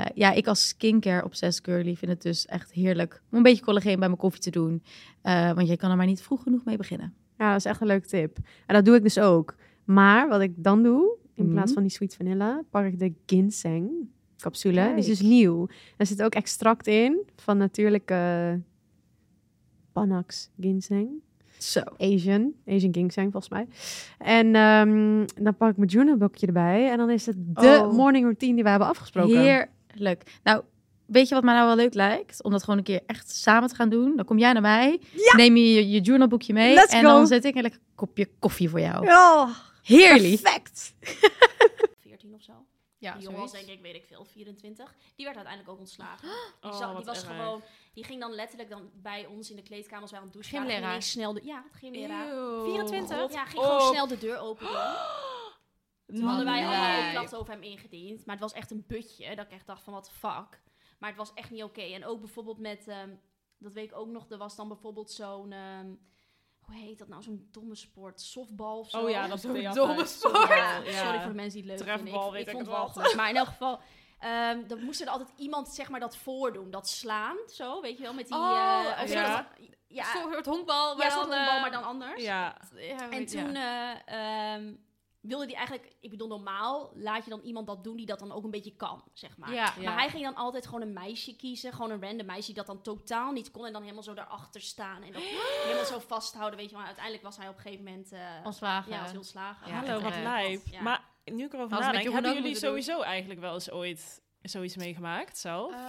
F: eh, ja, ik als skincare obsessed girly vind het dus echt heerlijk om een beetje collageen bij mijn koffie te doen. Eh, want je kan er maar niet vroeg genoeg mee beginnen.
E: Ja, dat is echt een leuke tip. En dat doe ik dus ook. Maar wat ik dan doe, in
F: Mhm.
E: plaats van die sweet vanilla, pak ik de ginseng capsule. Die is
F: Kijk.
E: dus nieuw. Daar zit ook extract in van natuurlijke Panax ginseng.
F: Zo.
E: Asian, Asian ginseng volgens mij. En ehm, dan pak ik mijn Junebokje erbij. En dan is het de
F: Oh.
E: morning routine die we hebben afgesproken.
F: Heerlijk. Nou, weet je wat mij nou wel leuk lijkt? Om dat gewoon een keer echt samen te gaan doen. Dan kom jij naar mij, neem je je, je journalboekje mee
E: Let's
F: en
E: go.
F: dan zet ik een lekker kopje koffie voor jou.
E: Oh,
F: Heerlijk.
E: perfect.
B: 14 of zo.
D: Ja,
B: die jongen was
D: zoiets.
B: denk ik, weet ik veel, 24. Die werd uiteindelijk ook ontslagen. Die,
C: Oh,
B: zag- die
C: wat
B: was
C: erg.
B: gewoon... Die ging dan letterlijk dan bij ons in de kleedkamer als wij aan het douchen waren.
D: Gymleraar.
B: ging ineens snel de, ja, gymleraar.
C: Eeuw.
D: 24?
C: God Oh.
B: Ja, ging
C: op.
B: gewoon snel de deur open doen. Toen hadden wij allemaal
D: Lijp.
B: een klachten over hem ingediend. Maar het was echt een butje. Dat ik echt dacht van, wat fuck. Maar het was echt niet oké. En ook bijvoorbeeld met... ehm, dat weet ik ook nog. Er was dan bijvoorbeeld zo'n... ehm, hoe heet dat nou, zo'n domme sport, softbal of zo.
C: Oh ja, dat is
B: Zo'n
C: een
B: domme
C: domme
B: sport.
C: Ja.
B: Sorry voor de mensen die het leuk
C: Trefbal,
B: vinden.
C: weet
B: Ik, ik
C: ik
B: vond het
C: het
B: wel
C: wat.
B: goed. Maar in elk geval, ehm, dan moest er altijd iemand zeg maar dat voordoen, dat slaan, zo, weet je wel, met die...
D: Oh,
B: eh,
C: een
B: zo-
C: soort-
B: ja,
D: Zo'n soort honkbal.
B: ja,
D: maar
B: zo'n
D: dan, eh,
B: honkbal, maar dan anders.
C: Ja.
D: ja,
B: En
D: weet- ja.
B: toen eh, ehm, wilde hij eigenlijk, ik bedoel normaal, laat je dan iemand dat doen die dat dan ook een beetje kan, zeg maar.
D: Ja.
B: Maar hij ging dan altijd gewoon een meisje kiezen, gewoon een random meisje die dat dan totaal niet kon en dan helemaal zo daarachter staan en dat helemaal zo vasthouden, weet je. Maar uiteindelijk was hij op een gegeven moment eh
D: Ontslagen.
B: ja, was heel slagen.
D: Ja,
C: Hallo, wat
D: eh,
C: lijp.
B: ja.
C: Maar nu ik erover
D: Als we met
C: nadenk,
D: Jeroen
C: hebben
D: ook
C: jullie
D: moeten doen.
C: sowieso eigenlijk wel eens ooit zoiets meegemaakt zelf?
B: Oh.
D: Eh,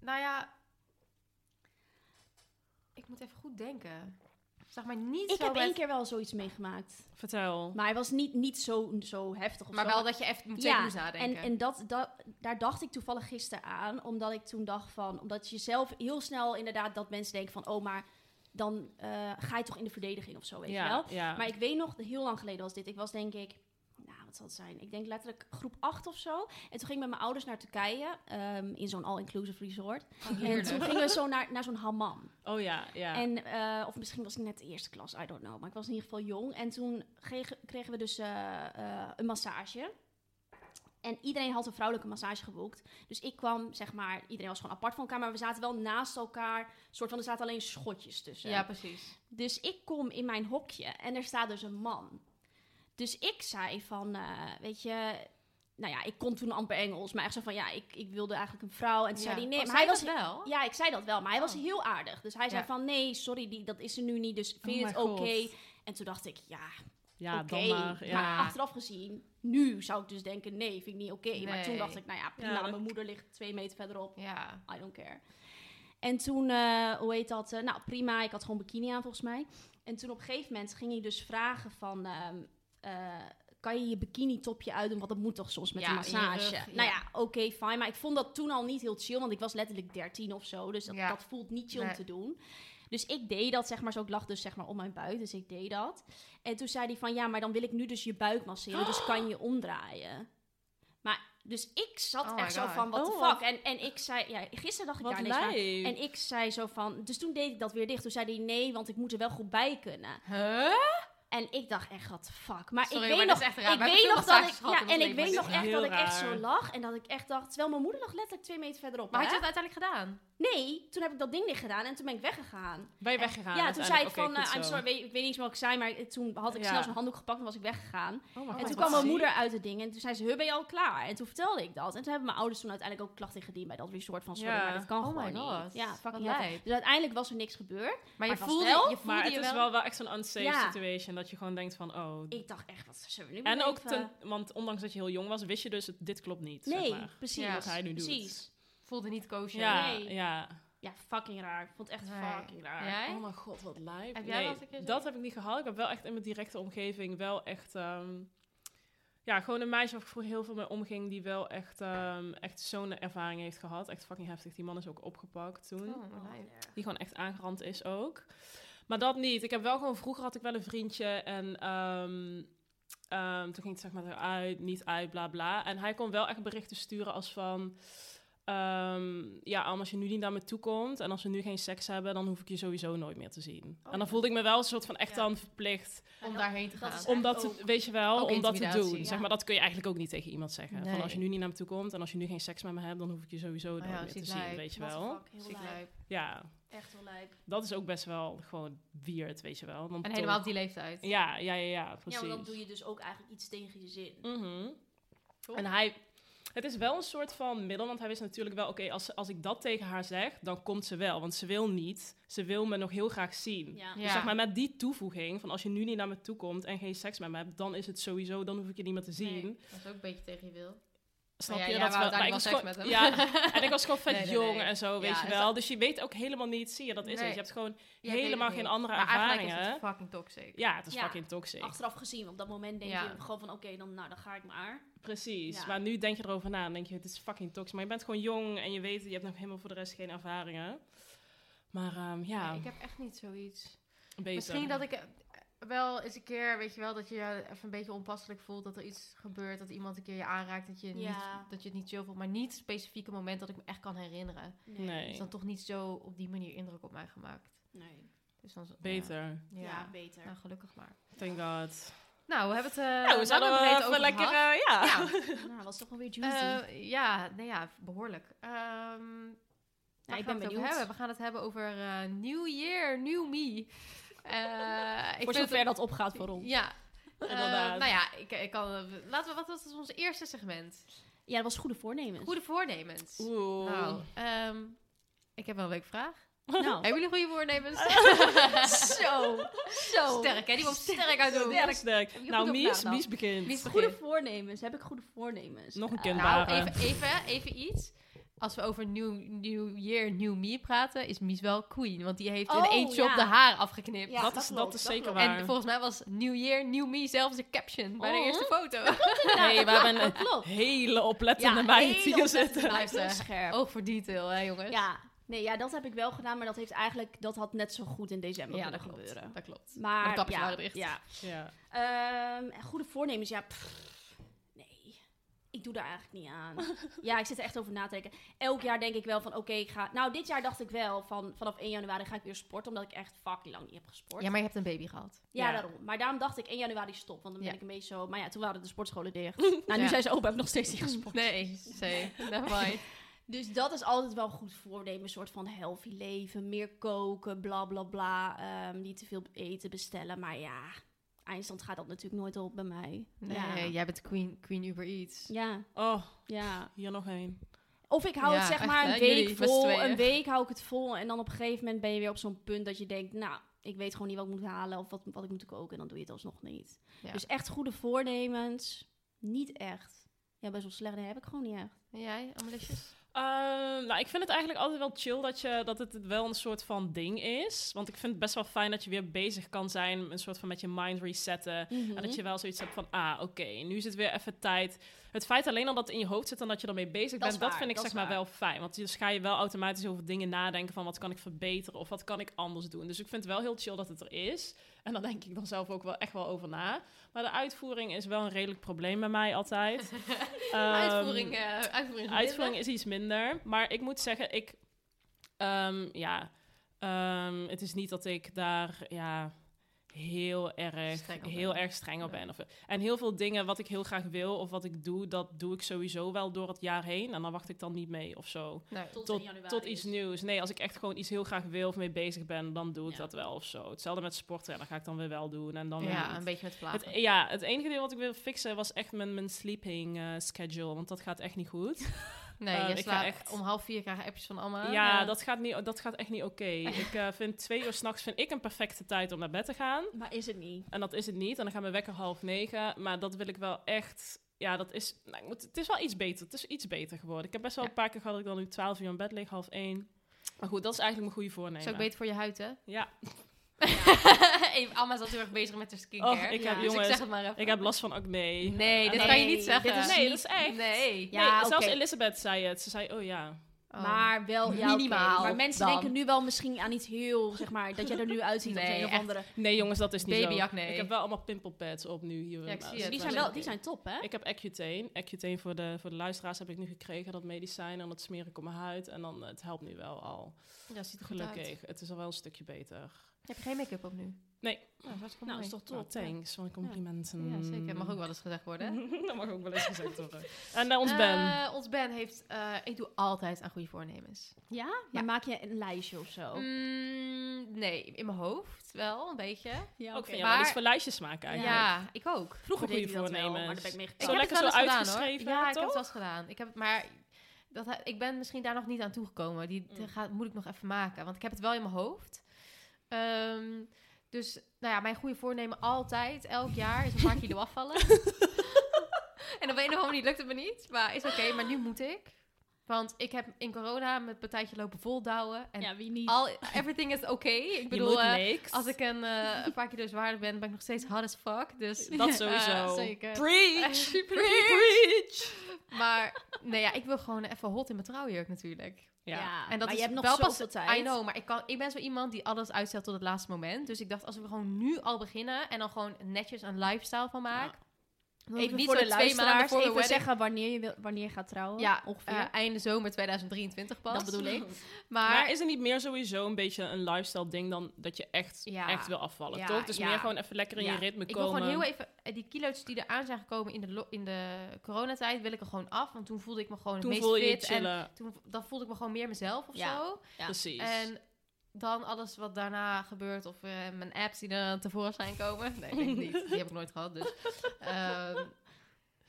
D: nou ja, ik moet even goed denken. Zeg maar niet
B: Ik
D: zo
B: heb
D: met-
B: één keer wel zoiets meegemaakt,
C: Vertel.
B: maar hij was niet, niet zo, zo heftig of
D: Maar
B: zo.
D: wel dat je even moet
B: Ja,
D: ja, moest nadenken.
B: En, en dat, dat, daar dacht ik toevallig gisteren aan, omdat ik toen dacht van, omdat je zelf heel snel inderdaad dat mensen denken van, oh maar dan eh, ga je toch in de verdediging of zo, weet je wel.
C: ja, ja.
B: Maar ik weet nog, heel lang geleden was dit, ik was denk ik, nou wat zal het zijn, ik denk letterlijk groep 8 of zo. En toen ging ik met mijn ouders naar Turkije, ehm, in zo'n all-inclusive resort.
D: Oh,
B: En
D: heerlijk.
B: toen gingen we zo naar, naar zo'n hammam.
C: Oh ja, ja.
B: En, eh, of misschien was ik net de eerste klas, I don't know. Maar ik was in ieder geval jong. En toen kregen, kregen we dus eh, eh, een massage. En iedereen had een vrouwelijke massage geboekt. Dus ik kwam, zeg maar, iedereen was gewoon apart van elkaar. Maar we zaten wel naast elkaar. Soort van, er zaten alleen schotjes tussen.
D: Ja, precies.
B: Dus ik kom in mijn hokje en er staat dus een man. Dus ik zei van, eh, weet je... Nou ja, ik kon toen amper Engels. Maar echt zo van, ja, ik, ik wilde eigenlijk een vrouw. En toen zei
D: Ja.
B: hij, nee,
D: Oh,
B: maar
D: zei
B: hij was...
D: dat wel.
B: Ja, ik zei dat wel, maar hij was
D: Oh.
B: heel aardig. Dus hij zei
D: Ja.
B: van, nee, sorry, die, dat is er nu niet, dus vind je
C: Oh
B: het
C: mijn
B: oké?
C: god.
B: En toen dacht ik, ja,
C: ja,
B: oké.
C: dan maar. Ja.
B: Maar achteraf gezien, nu zou ik dus denken, nee, vind ik niet oké. Maar toen
D: Nee.
B: dacht ik, nou ja, prima,
C: Ja, dat-
B: mijn moeder ligt twee meter verderop,
D: Ja.
B: I don't care. En toen, eh, hoe heet dat, eh, nou prima, ik had gewoon bikini aan volgens mij. En toen op een gegeven moment ging hij dus vragen van... ehm, eh, kan je je bikini topje uitdoen? Want dat moet toch soms met
D: Ja,
B: een
D: in je rug,
B: massage.
D: ja.
B: Nou ja, oké, fijn. Maar ik vond dat toen al niet heel chill. Want ik was letterlijk 13 of zo. Dus dat,
D: Ja.
B: dat voelt niet chill om
D: Nee.
B: te doen. Dus ik deed dat, zeg maar. Zo, ik lag dus zeg maar om mijn buik. Dus ik deed dat. En toen zei hij van... Ja, maar dan wil ik nu dus je buik masseren. Dus kan je omdraaien. Maar... Dus ik zat
D: Oh my
B: echt zo
D: God.
B: van, what
C: Oh,
B: the
C: wat-
B: fuck? En, en ik zei, ja, gisteren dacht ik
C: Wat
B: daar ineens aan.
C: lijp.
B: En ik zei zo van... Dus toen deed ik dat weer dicht. Toen zei hij, nee, want ik moet er wel goed bij kunnen.
D: Huh?
B: En ik dacht echt, wat fuck. Maar
D: Sorry,
B: ik
D: maar
B: weet
D: dat
B: nog,
D: is echt raar.
B: ik
D: We hebben
B: weet
D: veel
B: nog dat ik,
D: massages gehad
B: ja,
D: in
B: en
D: ons
B: ik
D: leven,
B: weet
D: maar
B: nog
C: dit is
B: echt
C: heel
B: dat ik echt zo
C: raar.
B: lag en dat ik echt dacht, terwijl mijn moeder lag letterlijk twee meter verderop.
D: Maar had
B: hè?
D: je dat uiteindelijk gedaan?
B: Nee, toen heb ik dat ding dicht gedaan en toen ben ik weggegaan.
C: Ben je weggegaan?
B: ja, toen zei ik
C: uiteindelijk? Oké,
B: van, eh,
C: goed
B: I'm
C: zo.
B: sorry, weet, ik weet niet eens meer wat ik zei, maar eh, toen had ik
C: Ja.
B: snel zo'n handdoek gepakt en was ik weggegaan.
C: Oh my
B: en
C: god,
B: toen
C: wat
B: kwam mijn
C: ziek.
B: moeder uit het ding en toen zei ze, "Huh, ben je al klaar? En toen vertelde ik dat. En toen hebben mijn ouders toen uiteindelijk ook klachten ingediend bij dat resort van, sorry,
C: Ja.
B: maar dit kan
D: Oh
B: gewoon
D: my god,
B: niet. Ja, fucking
D: wat
B: heftig.
D: lijp.
B: Dus uiteindelijk was er niks gebeurd.
D: Maar je
B: het was
D: voelde
B: wel-
D: je voelde
C: Maar het
D: je
C: is wel, wel echt zo'n unsafe
B: Ja.
C: situation. Dat je gewoon denkt van, oh...
B: Ik dacht echt, wat zullen we nu
C: En
B: weer
C: ook,
B: even-
C: ten, want ondanks dat je heel jong was, wist je dus, dit klopt niet.
B: Nee,
C: Zeg maar.
B: precies.
D: Ja,
C: Wat hij nu doet.
B: Precies.
D: voelde niet koosje.
C: Ja,
B: Nee.
C: ja.
B: Ja, fucking raar. Ik vond het echt
D: Nee.
B: fucking raar.
D: Jij?
C: Oh mijn god, wat lijp.
D: Heb jij wel
C: nee,
D: eens een keer zo-
C: dat heb ik niet gehad. Ik heb wel echt in mijn directe omgeving wel echt... ehm, ja, gewoon een meisje waar ik vroeger heel veel mee omging... die wel echt, ehm, echt zo'n ervaring heeft gehad. Echt fucking heftig. Die man is ook opgepakt toen.
D: Oh, wat lijp.
C: Die gewoon echt aangerand is ook. Maar dat niet. Ik heb wel gewoon... Vroeger had ik wel een vriendje en... ehm, ehm, toen ging het zeg maar uit, niet uit, bla bla. En hij kon wel echt berichten sturen als van... ehm, ja, Alma, als je nu niet naar me toe komt en als we nu geen seks hebben, dan hoef ik je sowieso nooit meer te zien. en dan voelde ik me wel een soort van echt
D: Oh, Ja.
C: dan verplicht
D: Om daarheen te
B: Dat
D: gaan.
B: is-
C: om dat,
B: echt
C: te-
B: ook.
C: weet je wel,
D: Ook
C: om dat te
D: intimidatie,
C: doen.
D: ja.
C: Zeg maar, dat kun je eigenlijk ook niet tegen iemand zeggen. Van
D: Nee. Oh
C: als je nu niet naar me toe komt en als je nu geen seks met me hebt, dan hoef ik je sowieso nooit
D: ja,
C: meer te
D: ziek
C: zien,
D: lijp.
C: weet je
B: What the
C: wel.
B: fuck, heel lijp.
C: Ja,
B: Echt heel lijp.
C: dat is ook best wel gewoon weird, weet je wel. Want
D: En helemaal op
C: toch-
D: die leeftijd.
C: Ja, ja, ja, ja, precies.
B: Ja, want dan doe je dus ook eigenlijk iets tegen je zin.
C: Mhm. En hij... Het is wel een soort van middel, want hij wist natuurlijk wel... Oké, als, als ik dat tegen haar zeg, dan komt ze wel. Want ze wil niet. Ze wil me nog heel graag zien.
B: Ja.
D: Mm, Ja.
C: Dus zeg maar met die toevoeging van als je nu niet naar me toe komt en geen seks met me hebt, dan is het sowieso, dan hoef ik je niet meer te zien.
D: Nee, dat is ook een beetje tegen je wil.
C: Snap
D: Maar
C: je
D: ja,
C: dat
D: jij wou
C: wel? Maar ik was
D: uiteindelijk
C: gewoon,
D: wel seks met hem.
C: ja, en ik was gewoon vet
D: Nee, nee,
C: jong
D: nee.
C: en zo, weet
D: Ja,
C: je
D: is
C: wel. Dus je weet ook helemaal niet, zie je, dat is
D: Nee.
C: het. Je hebt gewoon
D: Je hebt
C: helemaal
D: helemaal
C: geen
D: niks.
C: andere
D: maar eigenlijk is
C: ervaringen.
D: het fucking toxic.
C: Ja, het is
B: Ja.
C: fucking toxic.
B: Achteraf gezien, op dat moment denk
D: Ja.
B: je gewoon van, oké, dan, nou, dan ga ik maar.
C: Precies.
B: Ja.
C: Maar nu denk je erover na en denk je, het is fucking toxic. Maar je bent gewoon jong en je weet, je hebt nog helemaal voor de rest geen ervaringen. Maar ehm, ja,
D: Nee, ik heb echt niet zoiets.
C: beter.
D: Misschien dat ik eh, wel eens een keer, weet je wel, dat je je even een beetje onpasselijk voelt. Dat er iets gebeurt, dat iemand een keer je aanraakt. Dat je,
B: Ja.
D: niet, dat je het niet chill voelt. Maar niet specifieke moment dus dat ik me echt kan herinneren.
C: Nee.
D: Is dan toch niet zo op die manier indruk op mij gemaakt.
B: Nee.
D: Dus dan, is-
C: Beter.
D: Ja,
B: Ja,
D: ja.
B: beter.
D: Nou, gelukkig maar.
C: Thank God.
D: Nou, we hebben het eh
C: Nou, we
D: lang
C: zouden
D: en
C: we
D: breed
C: even
D: over
C: lekker...
D: gehad.
C: eh, ja.
D: Ja.
B: Nou, was toch wel weer juicy.
D: Eh, ja, nee, ja, behoorlijk. Ehm, waar gaan we
B: ik ben
D: het over
B: benieuwd.
D: hebben? We gaan het hebben over eh New Year, New Me. Eh, ik
B: Voor
D: vind
B: zover
D: het-
B: dat opgaat voor ons.
D: Ja. Eh,
C: Inderdaad.
D: nou ja, ik, ik kan, eh, laten we, wat was het, ons eerste segment?
B: Ja, dat was goede voornemens.
D: Goede voornemens.
C: Oeh.
D: Nou, ehm, ik heb wel een leuke vraag.
B: Nou,
D: Hebben jullie goede voornemens?
B: zo. Zo.
D: sterk, hè? Die komt sterk uit de hoek.
C: Sterk, sterk.
D: goed
C: Nou, Mies,
D: opgedacht dan?
C: Mies begint.
D: Mies begint.
B: Goede voornemens. Heb ik goede voornemens?
C: Nog een
B: Eh,
C: kind
D: Nou,
C: baren.
D: even, even, even iets. Als we over new, new Year, New Me praten, is Mies wel queen. Want die heeft in
B: Oh,
D: één shop
B: ja.
D: de haar afgeknipt.
B: Ja,
C: dat,
B: dat
C: is, dat
B: klopt,
C: is
B: dat
C: zeker
B: klopt.
C: waar.
D: En volgens mij was New Year, New Me zelfs de caption bij de
B: Oh.
D: eerste foto.
C: hey, we hebben een
B: dat klopt.
C: hele oplettende
B: Ja,
C: meid
B: hele
C: hier
B: oplettende
C: zitten.
B: meid, heel
D: Blijft, eh,
B: scherp.
D: Oog voor detail, hè jongens?
B: Oh, Ja, nee, ja, dat heb ik wel gedaan, maar dat heeft eigenlijk, dat had net zo goed in december
D: Ja, dat
B: kunnen
D: klopt.
B: gebeuren.
D: Dat klopt. Maar de
B: Maar
D: kapjes
B: ja,
D: waren dicht.
B: ja.
C: Ja.
B: Ehm, en goede voornemens, ja, pff, nee, ik doe daar eigenlijk niet aan. ja, ik zit er echt over na te denken. Elk jaar denk ik wel van, oké, ik ga. Nou, dit jaar dacht ik wel van, vanaf 1 januari ga ik weer sporten, omdat ik echt fucking lang niet heb gesport.
D: Ja, maar je hebt een baby gehad.
B: Ja,
C: Ja.
B: daarom. Maar daarom dacht ik 1 januari stop, want dan ben
D: Ja.
B: ik een beetje zo. Maar ja, toen waren de sportscholen dicht. nou, nu
D: Ja.
B: zijn ze open, heb ik nog steeds niet gesport.
D: Nee, say, never mind.
B: Dus dat is altijd wel een goed voornemen. Een soort van healthy leven, meer koken, bla bla bla. Ehm, niet te veel eten bestellen. Maar ja, eindstand gaat dat natuurlijk nooit op bij mij.
D: Nee,
B: Ja.
D: jij bent queen, queen Uber Eats.
B: Ja,
C: Oh,
B: ja.
C: hier nog één.
B: Of ik hou
D: Ja,
B: het zeg
D: echt,
B: maar
D: hè?
B: een week
D: Jullie met z'n
B: vol.
D: tweeën.
B: Een week hou ik het vol. En dan op een gegeven moment ben je weer op zo'n punt dat je denkt... Nou, ik weet gewoon niet wat ik moet halen of wat, wat ik moet koken. En dan doe je het alsnog niet.
D: Ja.
B: Dus echt goede voornemens, niet echt. Ja, best wel slecht. Nee, heb ik gewoon niet echt.
D: En jij, Amelisjes?
C: Ehm, nou, ik vind het eigenlijk altijd wel chill dat, je, dat het wel een soort van ding is. Want ik vind het best wel fijn dat je weer bezig kan zijn, een soort van met je mind resetten. En
B: Mhm.
C: dat je wel zoiets hebt van, ah, oké, nu is het weer even tijd. Het feit alleen al dat het in je hoofd zit en dat je ermee bezig
B: Dat is
C: bent, dat
B: waar,
C: vind ik
B: dat
C: zeg
B: is
C: maar
B: waar.
C: wel fijn. Want dus ga je wel automatisch over dingen nadenken van, wat kan ik verbeteren of wat kan ik anders doen. Dus ik vind het wel heel chill dat het er is. En daar denk ik dan zelf ook wel echt wel over na. Maar de uitvoering is wel een redelijk probleem bij mij altijd. Ehm,
D: uitvoering, eh uitvoering. van
C: Uitvoering is iets minder. Maar ik moet zeggen, ik. ehm, ja. ehm, het is niet dat ik daar. Ja, heel erg,
D: Streng op
C: heel
D: ben.
C: erg streng op
D: Ja.
C: ben. Of, en heel veel dingen wat ik heel graag wil of wat ik doe, dat doe ik sowieso wel door het jaar heen. En dan wacht ik dan niet mee of zo.
D: Nee.
C: Tot, dus. tot iets nieuws. Nee, als ik echt gewoon iets heel graag wil of mee bezig ben, dan doe ik
B: Ja.
C: dat wel of zo. Hetzelfde met sporten, ja, dat ga ik dan weer wel doen. En dan weer
D: Ja,
C: niet.
D: een beetje met
C: Het, e-
D: plagen.
C: ja, het enige ding wat ik wil fixen was echt mijn, mijn sleeping eh, schedule. Want dat gaat echt niet goed.
D: nee,
C: eh,
D: je
C: ik ga
D: slaapt
C: echt-
D: om half vier krijg je appjes van allemaal.
C: Ah, Ja, Dat, gaat niet, dat gaat echt niet oké. Ik eh, vind twee uur s'nachts vind ik een perfecte tijd om naar bed te gaan.
B: Maar is het niet.
C: En dat is het niet. En dan gaan we wekker half negen. Maar dat wil ik wel echt. Ja, dat is. Nou, ik moet, het is wel iets beter. Het is iets beter geworden. Ik heb best wel
D: Ja.
C: een paar keer gehad dat ik dan nu twaalf uur in bed lig, half één. Maar goed, dat is eigenlijk mijn goede voornemen.
D: is ook beter voor je huid, hè?
C: Ja,
D: Hey, Alma is al heel erg bezig met haar skincare.
C: oh, ik
B: Ja.
C: heb
D: dus ik
C: jongens.
D: zeg
C: Ik,
D: het maar even.
C: heb last van acne.
D: Nee, dit
B: Nee,
D: kan je niet
B: dit
D: zeggen.
B: is
C: nee,
B: niet-
C: dat is echt.
D: Nee.
B: Ja,
C: Nee, zelfs
B: oké.
C: Elisabeth zei het. Ze zei, oh ja.
D: Oh.
B: Maar wel, ja,
D: Minimaal
B: minimaal. Maar mensen
D: dan.
B: denken nu wel misschien aan iets heel, zeg maar, dat jij er nu uitziet
D: Nee,
B: als een of
D: echt.
B: andere.
C: Nee, jongens, dat is niet zo.
D: Babyacne.
C: Ik heb wel allemaal pimpelpads op nu hier.
D: Ja, ik
C: naast.
D: zie het. wel
B: Die zijn
D: leuk.
B: wel, die zijn top, hè?
C: Ik heb Accutane. Accutane voor de, voor de luisteraars heb ik nu gekregen, dat medicijn. En dat smeer ik op mijn huid. En dan, eh, het helpt nu wel al.
D: Ja, ziet er goed uit. Oh,
C: Gelukkig. Het is al wel een stukje beter.
D: Heb je geen make-up op nu?
C: Nee.
D: Nou, dat is
B: Nou, is toch
C: Top,
B: top. hè?
C: thanks voor de complimenten.
D: Ja, zeker. Mag ook wel eens gezegd worden. hè?
C: dat mag ook wel eens gezegd worden. En naar ons Ben.
D: Eh, ons Ben heeft... eh, ik doe altijd aan goede voornemens.
B: Ja? Maar
D: Ja.
B: maak je een lijstje of zo?
D: Mm, nee, in mijn hoofd wel, een beetje.
B: Ja,
C: Ook
B: oké.
C: van jou wel
D: Maar-
C: eens voor lijstjes maken
D: Ja,
C: eigenlijk.
D: ik ook.
C: Vroeger
B: Deed
C: goede
B: hij dat wel,
C: voornemens.
B: maar daar ben ik mee gekomen.
C: zo
B: Ik
D: heb
C: lekker
D: het
C: zo
D: wel eens gedaan, hoor.
C: uitgeschreven,
D: Ja, ik heb
C: toch?
D: het wel eens gedaan. Ik heb het, maar dat, he- ik ben misschien daar nog niet aan toegekomen. Die die
C: Mm.
D: gaat, moet ik nog even maken, want ik heb het wel in mijn hoofd. Ehm, dus, nou ja, mijn goede voornemen altijd, elk jaar, is een paar kilo afvallen. en op een of andere manier lukt het me niet, maar is oké. Maar nu moet ik. Want ik heb in corona mijn partijtje lopen voldouwen. En
B: Ja, wie niet?
D: al, everything is oké. Ik
C: je
D: bedoel,
C: moet
D: eh,
C: niks.
D: als ik een, eh, een paar kilo zwaarder ben, ben ik nog steeds hard as fuck. Dus
C: Dat sowieso.
D: Eh, zeker.
C: Preach!
D: Preach.
C: Preach!
D: Maar nee, ja, ik wil gewoon even hot in mijn trouwjurk natuurlijk.
C: Ja.
D: En dat
B: Ah, maar
D: is
B: je hebt nog
D: wel pas-
B: zoveel tijd.
D: I know, maar ik, kan, ik ben zo iemand die alles uitstelt tot het laatste moment. Dus ik dacht, als we gewoon nu al beginnen en dan gewoon netjes een lifestyle van maak,
B: Even
D: niet
B: voor
D: zo
B: de
D: twee maanden
B: luisteraars,
D: voor de
B: even
D: wedding.
B: zeggen wanneer je, wil, wanneer je gaat trouwen.
D: Ja,
B: ongeveer.
D: eh, einde zomer 2023 pas.
B: dat bedoel ik.
D: Maar,
C: Maar, is er niet meer sowieso een beetje een lifestyle ding dan dat je echt,
D: Ja.
C: echt wil afvallen,
D: Ja,
C: toch? Dus
D: ja.
C: meer gewoon even lekker in
D: Ja.
C: je ritme
D: ik wil
C: komen.
D: gewoon heel even... eh, Die kilo's die er aan zijn gekomen in de, lo- in de coronatijd, wil ik er gewoon af. Want toen voelde ik me gewoon
C: Toen
D: het
C: voel
D: meest
C: je je
D: fit. en
C: chillen.
D: toen, dan voelde ik me gewoon meer mezelf of
B: Ja.
D: zo.
B: Ja.
C: Precies.
D: En dan alles wat daarna gebeurt, of eh, mijn apps die er tevoorschijn komen. Nee, denk ik niet. Die heb ik nooit gehad. Dus. ehm,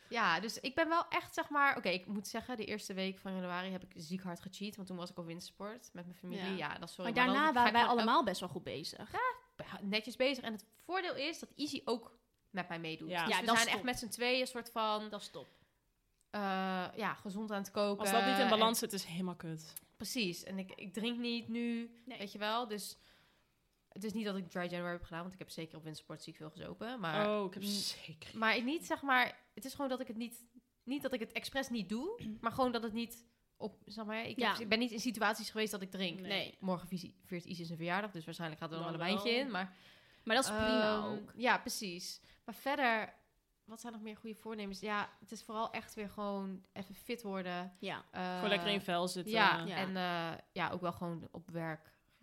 D: ja, dus ik ben wel echt, zeg maar. Oké, ik moet zeggen, de eerste week van januari heb ik ziek hard gecheat. Want toen was ik op wintersport met mijn familie.
B: Ja.
D: Ja, dat is sorry.
B: Maar daarna
D: dan ga
B: waren
D: ik
B: wij
D: gewoon
B: allemaal best wel goed bezig.
D: ook netjes bezig. En het voordeel is dat Izzy ook met mij meedoet.
C: Ja.
D: Dus
B: Ja,
D: we
B: dat
D: zijn
B: is
D: echt
B: top.
D: met z'n tweeën een soort van
B: Dat is top.
D: eh, ja, gezond aan het koken.
C: Als dat niet in
D: eh, en-
C: balans zit, is helemaal kut.
D: Precies. En ik, ik drink niet nu,
B: Nee.
D: weet je wel. Dus het is niet dat ik dry January heb gedaan, want ik heb zeker op wintersport ziek veel gezopen. Maar,
C: oh, ik heb
D: Mm.
C: zeker...
D: maar ik niet, zeg maar, het is gewoon dat ik het niet, niet dat ik het expres niet doe, maar gewoon dat het niet op, zeg maar, ik, heb-
B: Ja.
D: ik ben niet in situaties geweest dat ik drink.
B: Nee.
D: Morgen visie- viert Isis zijn verjaardag, dus waarschijnlijk gaat er dan
C: Dan
D: wel een wijntje
C: wel.
D: in. Maar,
B: Maar dat is prima
D: Ehm,
B: ook.
D: Ja, precies. Maar verder, wat zijn nog meer goede voornemens? Ja, het is vooral echt weer gewoon even fit worden.
B: Ja.
D: Voor
C: Gewoon lekker in vel zitten.
D: ja,
B: eh, Ja.
D: en eh, ja, ook wel gewoon op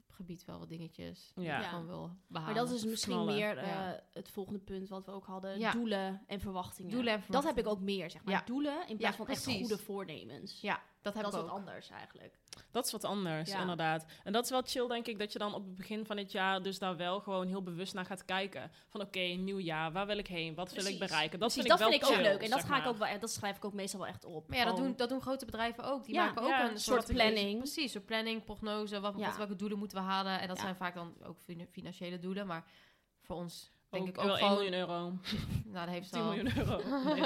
D: werkgebied wel wat dingetjes. Die
C: Ja.
D: ik
B: Ja.
D: gewoon wil behalen.
B: Maar dat is misschien
C: knallen.
B: meer eh,
D: Ja.
B: het volgende punt wat we ook hadden.
D: Ja.
B: Doelen en verwachtingen.
D: Doelen en
B: Dat
D: verwachtingen.
B: heb ik ook meer, zeg maar.
D: Ja.
B: Doelen in plaats
D: Ja,
B: van echt
D: precies.
B: goede voornemens.
D: Ja, dat heb
B: dat
D: ik
B: is
D: ook.
B: wat anders eigenlijk.
C: Dat is wat anders,
B: Ja.
C: inderdaad. En dat is wel chill, denk ik, dat je dan op het begin van het jaar dus daar wel gewoon heel bewust naar gaat kijken. Van oké, nieuw jaar, waar wil ik heen? Wat wil
B: Precies.
C: ik bereiken? Dat
B: Precies,
C: vind
B: dat
C: ik
B: vind
C: wel
B: ik ook
C: chill,
B: leuk. En dat,
C: zeg
B: ga ik
C: maar.
B: ook wel, en dat schrijf ik ook meestal wel echt op.
D: Maar ja, dat
B: Gewoon-
D: doen, dat doen grote bedrijven ook. Die
B: Ja,
D: maken ook
C: ja,
D: een
C: een
D: soort
B: soort planning.
D: Precies, een planning, prognose, wat,
B: Ja.
D: wat- welke doelen moeten we halen. En dat
B: Ja.
D: zijn vaak dan ook fin- financiële doelen. Maar voor ons denk
C: Ook-
D: ik ook
C: wel 1
D: gewoon...
C: miljoen euro.
D: Nou, dat heeft ze
C: 10
D: al.
C: miljoen euro. Nee,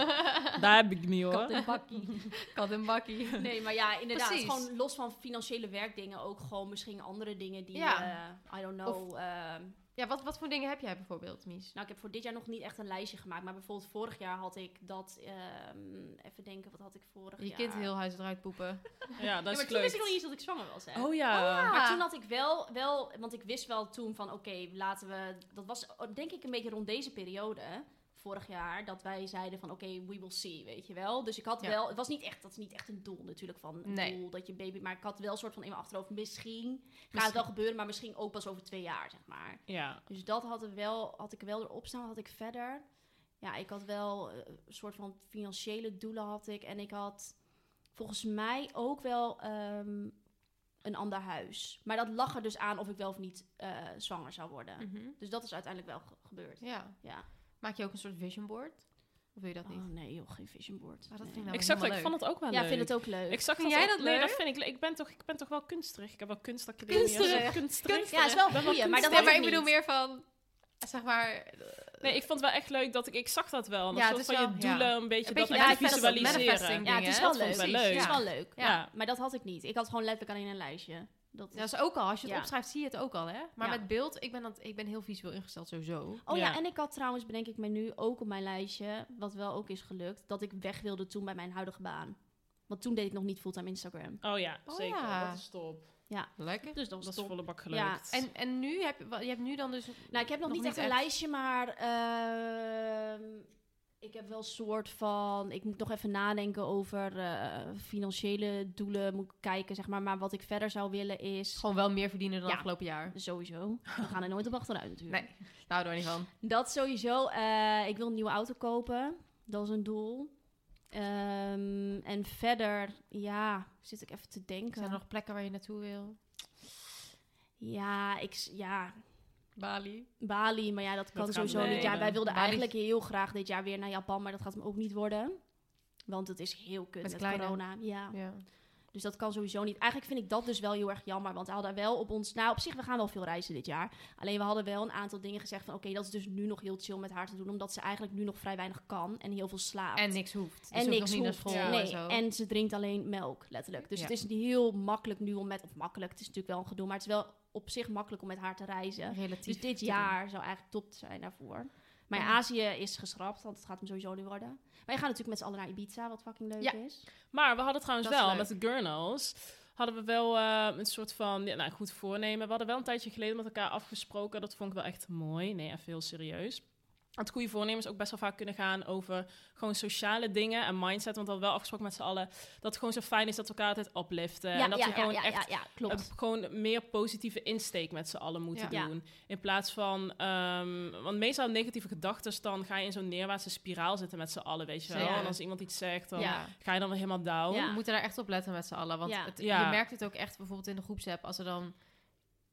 C: daar heb ik niet
B: Kat
C: hoor.
B: in bakkie.
D: Kat en bakkie.
B: Nee, maar ja, inderdaad.
D: Precies.
B: Gewoon los van financiële werkdingen ook gewoon misschien andere dingen die,
D: Ja.
B: eh, I don't know. ehm,
D: Ja, wat, wat voor dingen heb jij bijvoorbeeld, Mies?
B: nou, ik heb voor dit jaar nog niet echt een lijstje gemaakt. Maar bijvoorbeeld vorig jaar had ik dat, ehm, even denken, wat had ik vorig
D: Je
B: jaar?
D: kind heel huis eruit poepen.
C: Ja, dat
B: Ja,
C: is
B: maar toen
C: leuk.
B: wist ik nog niet eens dat ik zwanger was, hè?
C: Oh ja.
B: Maar toen had ik wel, wel, want ik wist wel toen van oké, laten we, dat was denk ik een beetje rond deze periode, vorig jaar, dat wij zeiden van oké, we will see, weet je wel. Dus ik had
D: Ja.
B: wel, het was niet echt, dat is niet echt een doel natuurlijk van een
D: Nee.
B: doel dat je baby, maar ik had wel een soort van in mijn achterhoofd, misschien, gaat het
D: Misschien.
B: wel gebeuren, maar misschien ook pas over twee jaar, zeg maar.
C: Ja.
B: Dus dat had, er wel, had ik wel erop staan, wat had ik verder. Ja, ik had wel eh, een soort van financiële doelen had ik en ik had volgens mij ook wel ehm, een ander huis. Maar dat lag er dus aan of ik wel of niet eh, zwanger zou worden.
D: Mhm.
B: Dus dat is uiteindelijk wel ge- gebeurd.
D: Ja.
B: Ja.
D: Maak je ook een soort vision board? Of wil je dat niet?
B: Oh nee joh, geen vision board.
D: Maar dat
B: Nee.
D: vind ik nou
C: Ik zag dat, ik
D: helemaal
C: vond het ook wel
B: Ja,
C: leuk.
B: ik vind het ook leuk.
C: Ik zag
D: Vind
C: dat
D: jij
C: ook-
D: dat
C: Nee,
D: leuk?
C: dat vind ik leuk. Ik ben toch, ik ben toch wel kunstrig. Ik heb wel kunstacademie.
B: Kunsterig.
C: Kunstrig.
B: ja, het is wel een goeie, maar dat
D: nee,
B: heb
D: maar
B: ik
D: ik bedoel
B: niet.
D: meer van, zeg maar,
C: Nee, ik vond het wel echt leuk dat ik... Ik zag dat wel. Dat
D: Ja,
C: ja,
D: het
C: soort
D: is
C: van je
D: wel- ja.
C: doelen een beetje,
D: Een beetje
C: dat echt
D: manifest-
C: visualiseren.
D: manifesting.
B: Ja, het is
D: dingen,
B: wel
D: hè?
C: Dat
B: leuk.
C: vond ik wel
B: Het
C: leuk.
B: is wel leuk.
D: Ja.
B: Ja. Maar dat had ik niet. Ik had gewoon letterlijk alleen een lijstje. Dat is...
D: ja, is ook al, als je het
B: Ja.
D: opschrijft zie je het ook al, hè? Maar
B: Ja.
D: met beeld, ik ben, dat, ik ben heel visueel ingesteld sowieso.
B: Oh ja.
C: Ja.
B: en ik had trouwens, bedenk ik me nu, ook op mijn lijstje, wat wel ook is gelukt, dat ik weg wilde toen bij mijn huidige baan. Want toen deed ik nog niet fulltime Instagram.
C: Oh ja,
D: Oh
C: zeker.
D: ja.
C: Dat is top.
D: Lekker.
B: Dus dat
C: Dat
B: was
C: is
B: top.
C: volle bak gelukt.
B: Ja,
D: En, en nu heb je, wa- je hebt nu dan dus...
B: Nou, ik heb nog,
D: Nog
B: niet
D: niet
B: echt een
D: echt.
B: lijstje, maar ehm, ik heb wel een soort van... Ik moet nog even nadenken over eh, financiële doelen, moet ik kijken, zeg maar. Maar wat ik verder zou willen is...
D: Gewoon wel meer verdienen dan
B: Ja.
D: afgelopen jaar.
B: Sowieso. We gaan er nooit op achteruit natuurlijk.
D: Nee, Nou, daar houden we niet van.
B: Dat sowieso. Eh, ik wil een nieuwe auto kopen. Dat is een doel. Ehm, en verder, ja, zit ik even te denken.
D: Zijn er nog plekken waar je naartoe wil?
B: Ja, ik, s- ja,
D: Bali.
B: Bali, maar ja, dat kan
C: gaat
B: sowieso
C: niet
B: niet. Ja,
C: worden.
B: wij wilden
D: Bali-
B: eigenlijk heel graag dit jaar weer naar Japan, maar dat gaat hem ook niet worden. Want het is heel kut
D: Met
B: met,
D: kleine.
B: corona. Ja.
D: Ja.
B: Dus dat kan sowieso niet. Eigenlijk vind ik dat dus wel heel erg jammer. Want we hadden wel op ons... Nou, op zich, we gaan wel veel reizen dit jaar. Alleen we hadden wel een aantal dingen gezegd van... Oké, dat is dus nu nog heel chill met haar te doen. Omdat ze eigenlijk nu nog vrij weinig kan en heel veel slaapt.
D: En niks hoeft. Dus
B: en
D: ook
B: niks
D: nog niet naar
B: hoeft.
D: school
C: Ja.
D: en
B: nee.
D: zo.
B: en, ze drinkt alleen melk, letterlijk. Dus
D: Ja.
B: het is niet heel makkelijk nu om met... Of makkelijk, het is natuurlijk wel een gedoe. Maar het is wel op zich makkelijk om met haar te reizen.
D: Relatief.
B: Dus dit
D: te doen.
B: jaar zou eigenlijk top zijn daarvoor. Maar ja,
D: Ja.
B: Azië is geschrapt, want het gaat hem sowieso niet worden. Maar je gaat natuurlijk met z'n allen naar Ibiza, wat fucking leuk
D: Ja.
B: is.
C: Maar we hadden trouwens
D: Dat is
C: wel,
D: leuk.
C: met de Gurnals, hadden we wel eh, een soort van, ja, nou goed voornemen. We hadden wel een tijdje geleden met elkaar afgesproken, dat vond ik wel echt mooi. Nee, even heel serieus. dat goede voornemens ook best wel vaak kunnen gaan over gewoon sociale dingen en mindset. Want we hadden wel afgesproken met z'n allen dat het gewoon zo fijn is dat we elkaar altijd upliften. en dat we gewoon echt
B: ja, klopt.
C: eh, gewoon meer positieve insteek met z'n allen moeten
B: Ja. Ja.
C: doen. In plaats van, ehm, want meestal negatieve gedachten, dan ga je in zo'n neerwaartse spiraal zitten met z'n allen, weet je wel.
D: Ja.
C: En als iemand iets zegt, dan
D: Ja.
C: ga je dan weer helemaal down.
B: Ja.
D: We moeten daar echt op letten met z'n allen. Want
B: Ja.
D: het-
C: Ja.
D: je merkt het ook echt bijvoorbeeld in de groepsapp. Als er dan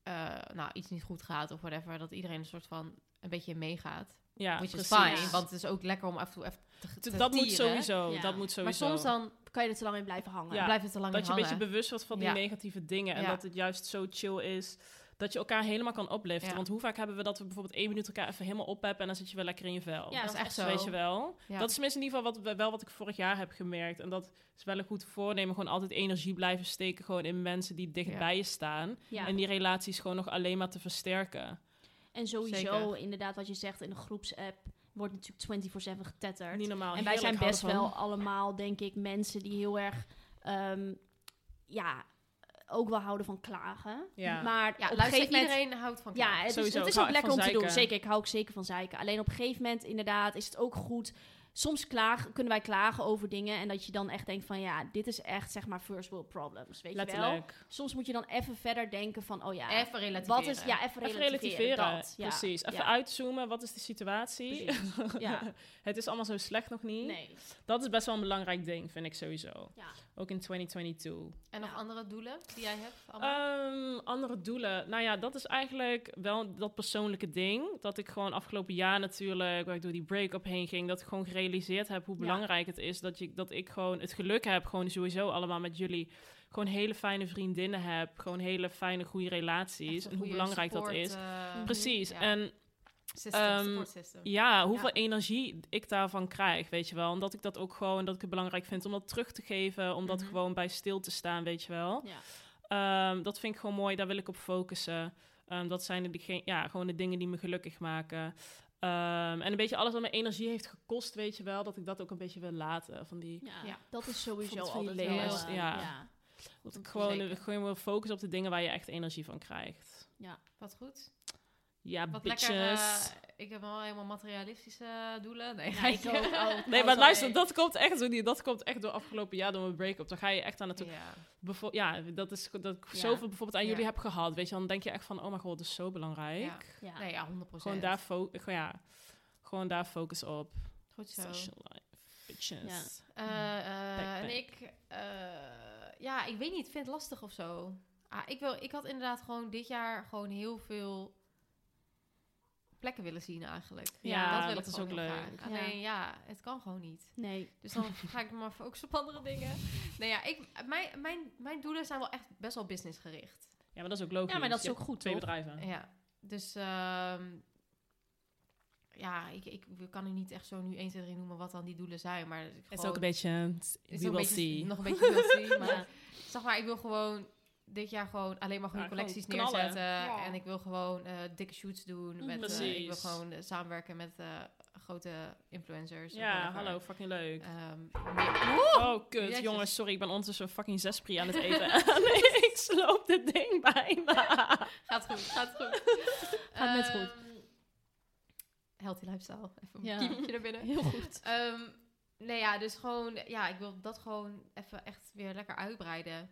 D: eh, nou, iets niet goed gaat of whatever. Dat iedereen een soort van een beetje meegaat.
C: Ja,
D: Which is
C: precies.
D: fine. Want het is ook lekker om af en toe even te, te
C: T- dat, moet
D: tieren.
C: sowieso,
B: Ja.
C: dat moet sowieso.
D: Maar soms dan
B: Kan je er te lang in blijven hangen?
C: Ja.
D: blijft het te lang
C: Dat je een
D: hangen.
C: beetje bewust wordt van die
D: Ja.
C: negatieve dingen. En
D: Ja.
C: dat het juist zo chill is dat je elkaar helemaal kan opliften.
D: Ja.
C: Want hoe vaak hebben we dat we bijvoorbeeld één minuut elkaar even helemaal opheppen... en dan zit je weer lekker in je vel.
B: Ja,
D: dat is echt zo.
C: Weet je wel?
D: Ja.
C: Dat is tenminste in ieder geval wat, wel wat ik vorig jaar heb gemerkt. En dat is wel een goed voornemen. Gewoon altijd energie blijven steken gewoon in mensen die dicht
D: Ja.
C: bij je staan.
B: Ja.
C: En die relaties gewoon nog alleen maar te versterken.
B: En sowieso,
D: Zeker.
B: inderdaad, wat je zegt in de groepsapp, wordt natuurlijk 24-7 getetterd.
C: Niet normaal.
B: en wij zijn
C: Heerlijk,
B: best
C: hou ervan.
B: wel allemaal, denk ik, mensen die heel erg, ehm, ja, ook wel houden van klagen.
C: Ja.
B: Maar
D: Ja,
B: op een
D: luister,
B: gegeven moment...
D: iedereen houdt van
B: Ja,
D: klaar.
B: het is,
C: Sowieso,
B: het
C: ik
B: is
C: hou
B: ook
C: echt
B: lekker om
C: van
B: te doen.
C: zeiken.
B: Zeker, ik hou ook zeker van zeiken. Alleen op een gegeven moment, inderdaad, is het ook goed. Soms klaag, kunnen wij klagen over dingen. En dat je dan echt denkt van, ja, dit is echt, zeg maar, first world problems. Weet je wel?
C: Letterlijk.
B: Soms moet je dan even verder denken van, oh ja,
D: Even relativeren.
B: wat is... Ja, even relativeren.
C: Even relativeren,
B: dat, ja.
C: precies. Even
B: Ja.
C: uitzoomen, wat is de situatie?
B: Precies. Ja.
C: Het is allemaal zo slecht nog niet.
B: Nee.
C: Dat is best wel een belangrijk ding, vind ik sowieso.
B: Ja.
C: Ook in 2022.
D: En nog
B: Ja.
D: andere doelen die jij hebt? allemaal?
C: Ehm, andere doelen. Nou ja, dat is eigenlijk wel dat persoonlijke ding. Dat ik gewoon afgelopen jaar natuurlijk, waar ik door die break-up heen ging, dat ik gewoon gerealiseerd heb hoe
B: Ja.
C: belangrijk het is dat, je, dat ik gewoon het geluk heb, gewoon sowieso allemaal met jullie, gewoon hele fijne vriendinnen heb, gewoon hele fijne, goede
D: Echt
C: relaties.
D: een
C: En hoe
D: goede
C: belangrijk dat
D: support,
C: is.
D: eh,
C: Precies.
D: ja.
C: En
D: System,
C: ehm,
D: support system.
C: Ja, hoeveel energie ik daarvan krijg, weet je wel. Omdat ik dat ook gewoon, dat ik het belangrijk vind om dat terug te geven. Om dat
D: Mhm.
C: gewoon bij stil te staan, weet je wel.
B: Ja.
C: Ehm, dat vind ik gewoon mooi, daar wil ik op focussen. Ehm, dat zijn de, diege- ja, gewoon de dingen die me gelukkig maken. Ehm, en een beetje alles wat mijn energie heeft gekost, weet je wel. Dat ik dat ook een beetje wil laten. Van die,
B: Ja.
D: Ja.
B: dat is sowieso
C: Vond het
B: altijd
C: heel
B: wel,
C: leuk.
B: eh,
C: Ja.
B: ja.
C: dat ik gewoon,
D: Zeker.
C: gewoon wil focussen op de dingen waar je echt energie van krijgt.
D: Wat goed.
C: Ja,
D: Wat
C: bitches.
D: lekker. eh, ik heb wel helemaal materialistische eh, doelen. Nee,
B: Ja, ik ook. Oh,
C: Nee,
B: dat
C: maar
B: is
C: luister,
B: wel-
C: dat komt echt door, die, dat komt echt door afgelopen jaar door mijn break-up. Dan ga je echt aan het
D: Ja.
C: Bevo- ja, dat is dat ik
D: Ja.
C: zoveel bijvoorbeeld aan
D: Ja.
C: jullie heb gehad. Weet je, dan denk je echt van, oh mijn god, dat is zo belangrijk.
D: Ja.
B: Ja.
D: Nee, ja, 100
C: Gewoon, daar fo- gewoon, ja, gewoon daar focus op.
D: Goed zo.
C: Social life. Bitches.
D: Eh, eh,
C: Backpack.
D: en ik, eh, ja, ik weet niet, ik vind het lastig of zo. Ah, ik, wil, ik had inderdaad gewoon dit jaar gewoon heel veel plekken willen zien eigenlijk.
C: Ja,
D: wil
C: dat
D: ik
C: is
D: gewoon
C: ook
D: heel
C: leuk.
D: graag. Alleen ja, het kan gewoon niet.
B: Nee.
D: Dus dan ga ik me maar focussen op andere dingen. Nee, ja, ik, mijn, mijn, mijn doelen zijn wel echt best wel businessgericht.
C: Ja. maar dat is ook logisch.
B: Ja, maar dat is
C: Je
B: ook
C: hebt
B: goed,
C: Twee
B: toch?
C: bedrijven.
D: Ja, dus ehm, ja, ik, ik, ik kan u niet echt zo nu 1, 2, 3 noemen wat dan die doelen zijn. Maar het
C: Het is ook een beetje,
D: is
C: we
D: nog
C: will
D: een beetje-
C: see.
D: Nog een beetje will see, maar zeg maar, ik wil gewoon dit jaar gewoon alleen maar goede
C: Ja, gewoon
D: collecties
C: knallen.
D: neerzetten.
B: Ja.
D: En ik wil gewoon eh, dikke shoots doen. Met,
B: Mhm.
D: eh, ik wil
C: Mm, Precies.
D: gewoon eh, samenwerken met eh, grote influencers. of
C: Ja,
D: whatever.
C: hallo, fucking leuk.
D: Ehm, meer-
C: Oh, kut.
D: Jezus.
C: Jongens, sorry, ik ben ondertussen een fucking zespri aan het eten. nee, ik sloop dit ding bijna.
D: Gaat goed, gaat goed.
B: Gaat net
D: Ehm,
B: goed.
D: Healthy lifestyle. Even
B: Ja.
D: een kiepje naar binnen.
B: Heel goed.
D: Ehm, nee, ja, dus gewoon... Ja, ik wil dat gewoon even echt weer lekker uitbreiden.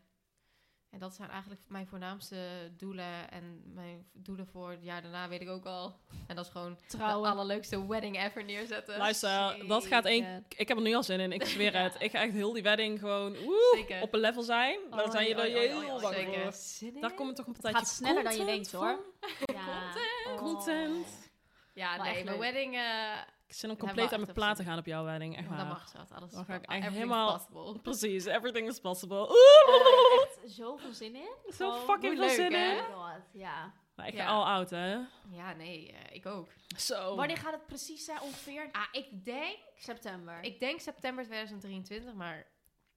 D: En dat zijn eigenlijk mijn voornaamste doelen. En mijn doelen voor het jaar daarna weet ik ook al. En dat is gewoon de
B: Trouwen.
D: allerleukste wedding ever neerzetten.
C: Luister, dat gaat één... Ik heb er nu al zin in, ik zweer het. Ik ga echt heel die wedding gewoon woe,
D: Zeker.
C: op een level zijn. Maar daar zijn
B: Oh,
D: Oei,
C: jullie
D: oei, oei,
C: heel
D: oei,
C: bang
D: zeker.
C: voor.
D: Zin in?
C: Daar komt het toch een
B: Het
C: partijtje
B: gaat sneller dan je denkt,
C: content
B: hoor.
C: van.
B: Ja. Oh.
C: Content.
D: Ja,
B: Wel
D: nee,
B: echt
D: mijn
B: leuk.
D: wedding... eh
C: Ik zit om
D: Daar hebben
C: compleet
D: we
C: aan
D: echt
C: mijn
D: op
C: plaat te
D: zin.
C: gaan op jouw wedding, echt
D: dat
C: waar.
D: mag schat, alles
C: Dan
D: is
C: ga ik
D: papa.
C: echt
D: Everything's
C: helemaal-
D: possible.
C: Precies, everything is possible.
B: Oh,
C: Oeh,
B: echt zoveel zin in.
C: zo
B: Gewoon,
C: fucking
D: hoe
C: veel
D: leuk,
C: zin
D: hè?
C: in.
B: Oh my god, ja.
C: Maar ik ga
D: Ja.
C: al out, hè.
D: Ja, nee, eh, ik ook.
C: Zo.
B: Wanneer gaat het precies zijn? Ongeveer
D: Ah, ik denk...
B: september.
D: Ik denk september 2023, maar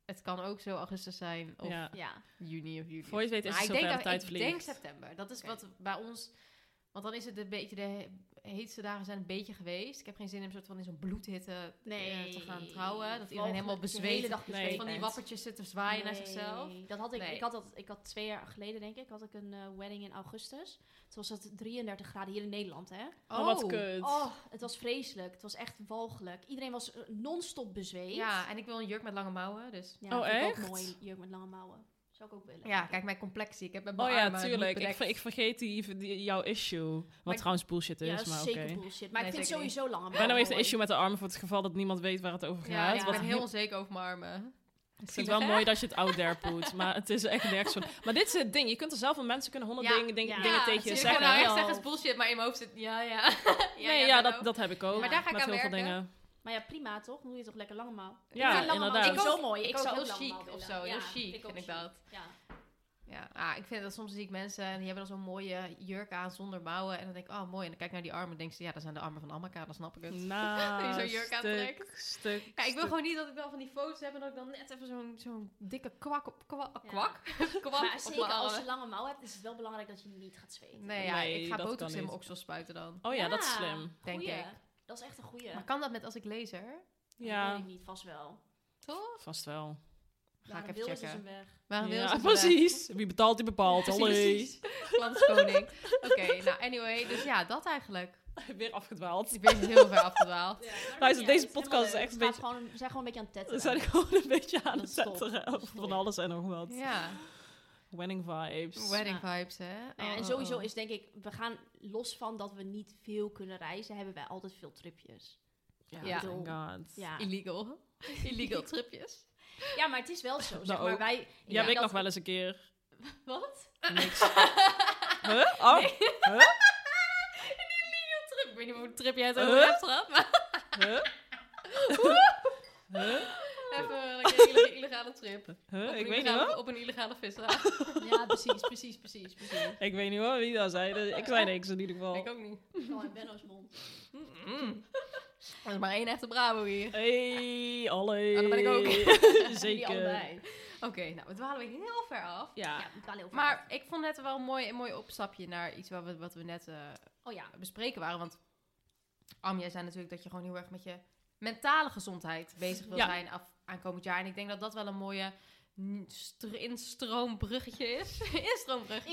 D: het kan ook zo augustus zijn of
C: Ja.
B: ja.
D: juni of juli.
C: Voor je het weet is
D: Maar
C: het
D: ik denk,
C: zover, de
D: dat-
C: tijd
D: ik denk
C: vliegt.
D: september. Dat is
B: Oké.
D: wat bij ons Want dan is het een beetje de he- heetste dagen zijn een beetje geweest. Ik heb geen zin in een soort van in zo'n bloedhitte eh, te gaan trouwen. Dat iedereen helemaal
B: bezweet. De hele
D: bezweet
B: dag
C: Nee,
B: bezweet
D: van die
B: bent.
D: wappertjes zit te zwaaien naar
B: Nee,
D: zichzelf.
B: Dat had ik,
D: Nee.
B: ik, had dat, ik had twee jaar geleden, denk ik, had ik een eh, wedding in augustus. Toen was dat 33 graden hier in Nederland, hè?
C: Oh, wat kut.
B: Oh, het was vreselijk. Het was echt walgelijk. Iedereen was eh, non-stop bezweet.
D: Ja, en ik wil een jurk met lange mouwen, dus...
B: Ja,
C: Oh,
B: vind ik
C: echt?
B: ook mooi, jurk met lange mouwen. Zou ik ook willen.
D: Ja, kijk, mijn complexie. Ik heb met mijn
C: Oh ja,
D: armen niet
C: tuurlijk. Ik,
D: bedekt.
C: ver- ik vergeet die, die- jouw issue. Wat
B: Maar-
C: trouwens bullshit is,
B: Ja, dat is
C: maar oké.
B: zeker Oh, bullshit. Maar
D: Nee,
B: ik vind
D: zeker niet.
B: sowieso lange mouwen
C: Benno heeft een
B: mooi.
C: issue met de armen voor het geval dat niemand weet waar het over
D: Ja,
C: gaat.
D: ik
C: wat
D: ben heel onzeker over mijn armen.
C: Ik vind het wel mooi dat je het out there put, maar het is echt nergens van. Maar dit is het ding. Je kunt er zelf van mensen kunnen honderd
D: Ja,
C: dingen, dingen-
B: ja.
C: dingen
B: Ja,
C: tegen je
D: natuurlijk.
C: zeggen.
D: Nou, echt
B: Ja.
D: zeggen is bullshit, maar in mijn hoofd zit... Ja, ja.
C: nee, ja, dat, dat heb ik ook.
D: Maar daar ga ik
C: met
D: aan
C: heel veel
D: werken.
C: dingen.
B: Maar ja, prima toch? Dan doe je toch lekker lange mouw.
C: Ja,
B: vind lange mouwen
C: inderdaad.
D: Ik ook-
B: sowieso mooi.
D: ik
B: Ik
D: ook
B: zou
D: heel
B: ook lange
D: chic
B: mouwen
D: of
B: willen.
D: zo. Heel
B: Ja,
D: chic
B: ook
D: vind ik
B: chic.
D: dat.
B: Ja.
D: Ja, ah, ik vind dat soms zie ik mensen en die hebben dan zo'n mooie jurk aan zonder mouwen. En dan denk ik, oh mooi. En dan kijk ik naar die armen en denk ze, ja, dat zijn de armen van Amaka, dan snap ik het.
C: Nou,
D: Die zo'n jurk
C: stuk,
D: aantrekt.
C: stuk,
D: Ja, ik wil
C: stuk.
D: gewoon niet dat ik dan van die foto's heb en dat ik dan net even zo'n zo'n dikke kwak op, kwak,
B: Ja.
D: kwak, kwak
B: Maar
D: op
B: zeker
D: mijn
B: als je
D: armen.
B: lange mouw hebt, is het wel belangrijk dat je niet gaat zweten.
D: Nee, ja,
C: Nee,
D: ik ga
C: dat kan
D: botox in
C: niet.
D: mijn oksel spuiten dan.
C: Oh ja, dat is slim.
D: Denk
B: goeie.
D: ik.
B: Dat is echt een goeie.
D: Maar kan dat met als ik laser?
B: Dat
C: Ja,
B: weet ik niet, vast wel.
D: Toch?
C: vast wel.
D: Ga ik
B: Waarom
D: even
B: wil ze zijn
D: checken.
B: weg?
D: Waarom wil
C: ja,
D: ze
C: precies. Wie betaalt, die bepaalt. Allee.
D: Precies. Klant is koning. Oké, nou anyway. Dus ja, dat eigenlijk.
C: Weer afgedwaald.
D: Ik ben heel ver afgedwaald.
C: Luister, deze podcast is echt een beetje...
B: Gewoon, we zijn gewoon een beetje aan het tetten.
C: We zijn gewoon een beetje aan
B: Dat
C: het
B: is top.
C: zetten.
B: Dat is
C: Van
B: top.
C: alles en nog wat.
D: Ja,
C: Wedding vibes.
D: wedding
B: Ja.
D: vibes hè.
B: Nou ja,
D: Oh,
B: en
D: oh,
B: sowieso
D: oh.
B: is denk ik, we gaan los van dat we niet veel kunnen reizen, hebben wij altijd veel tripjes.
D: Ja.
C: Oh my god.
B: Ja,
D: Illegal. Illegal tripjes.
B: ja maar het is wel zo. Zeg
C: Nou,
B: maar
C: ook.
B: wij.
C: Jij ja,
B: ik
C: ik nog wel eens een keer.
D: Wat?
C: Niks. huh? Oh. Huh?
D: Een illegal trip. Ik weet niet hoe trip jij het
C: Huh?
D: over hebt gehad, maar
C: Huh? Huh?
D: even een keer een ille- illegale trip. Op
C: Oh. Huh?
D: een
C: Ik weet niet
D: illegale-
C: hoor.
D: Op een illegale visser.
B: Ja, precies, precies, precies. precies.
C: Ik weet niet hoor wie dat zei. Dus Ik zei niks in ieder
D: Ik
C: geval.
D: ook niet.
B: Gewoon in Benno's mond.
D: Mm. Er is maar één echte Bravo hier.
C: Hey, alle.
D: Oh, dat ben ik ook.
B: Die
C: Zeker.
B: allebei.
D: Oké, nou, we dwalen weer heel ver af.
C: Ja.
B: Ja, ik kan heel veel.
D: Maar ik vond net wel een mooi, een mooi opstapje naar iets wat we, wat we net eh,
B: Oh ja.
D: bespreken waren. Want Am, jij zei natuurlijk dat je gewoon heel erg met je mentale gezondheid bezig wil
C: Ja.
D: zijn af, aankomend jaar. En ik denk dat dat wel een mooie n- str- instroombruggetje is. instroombruggetje.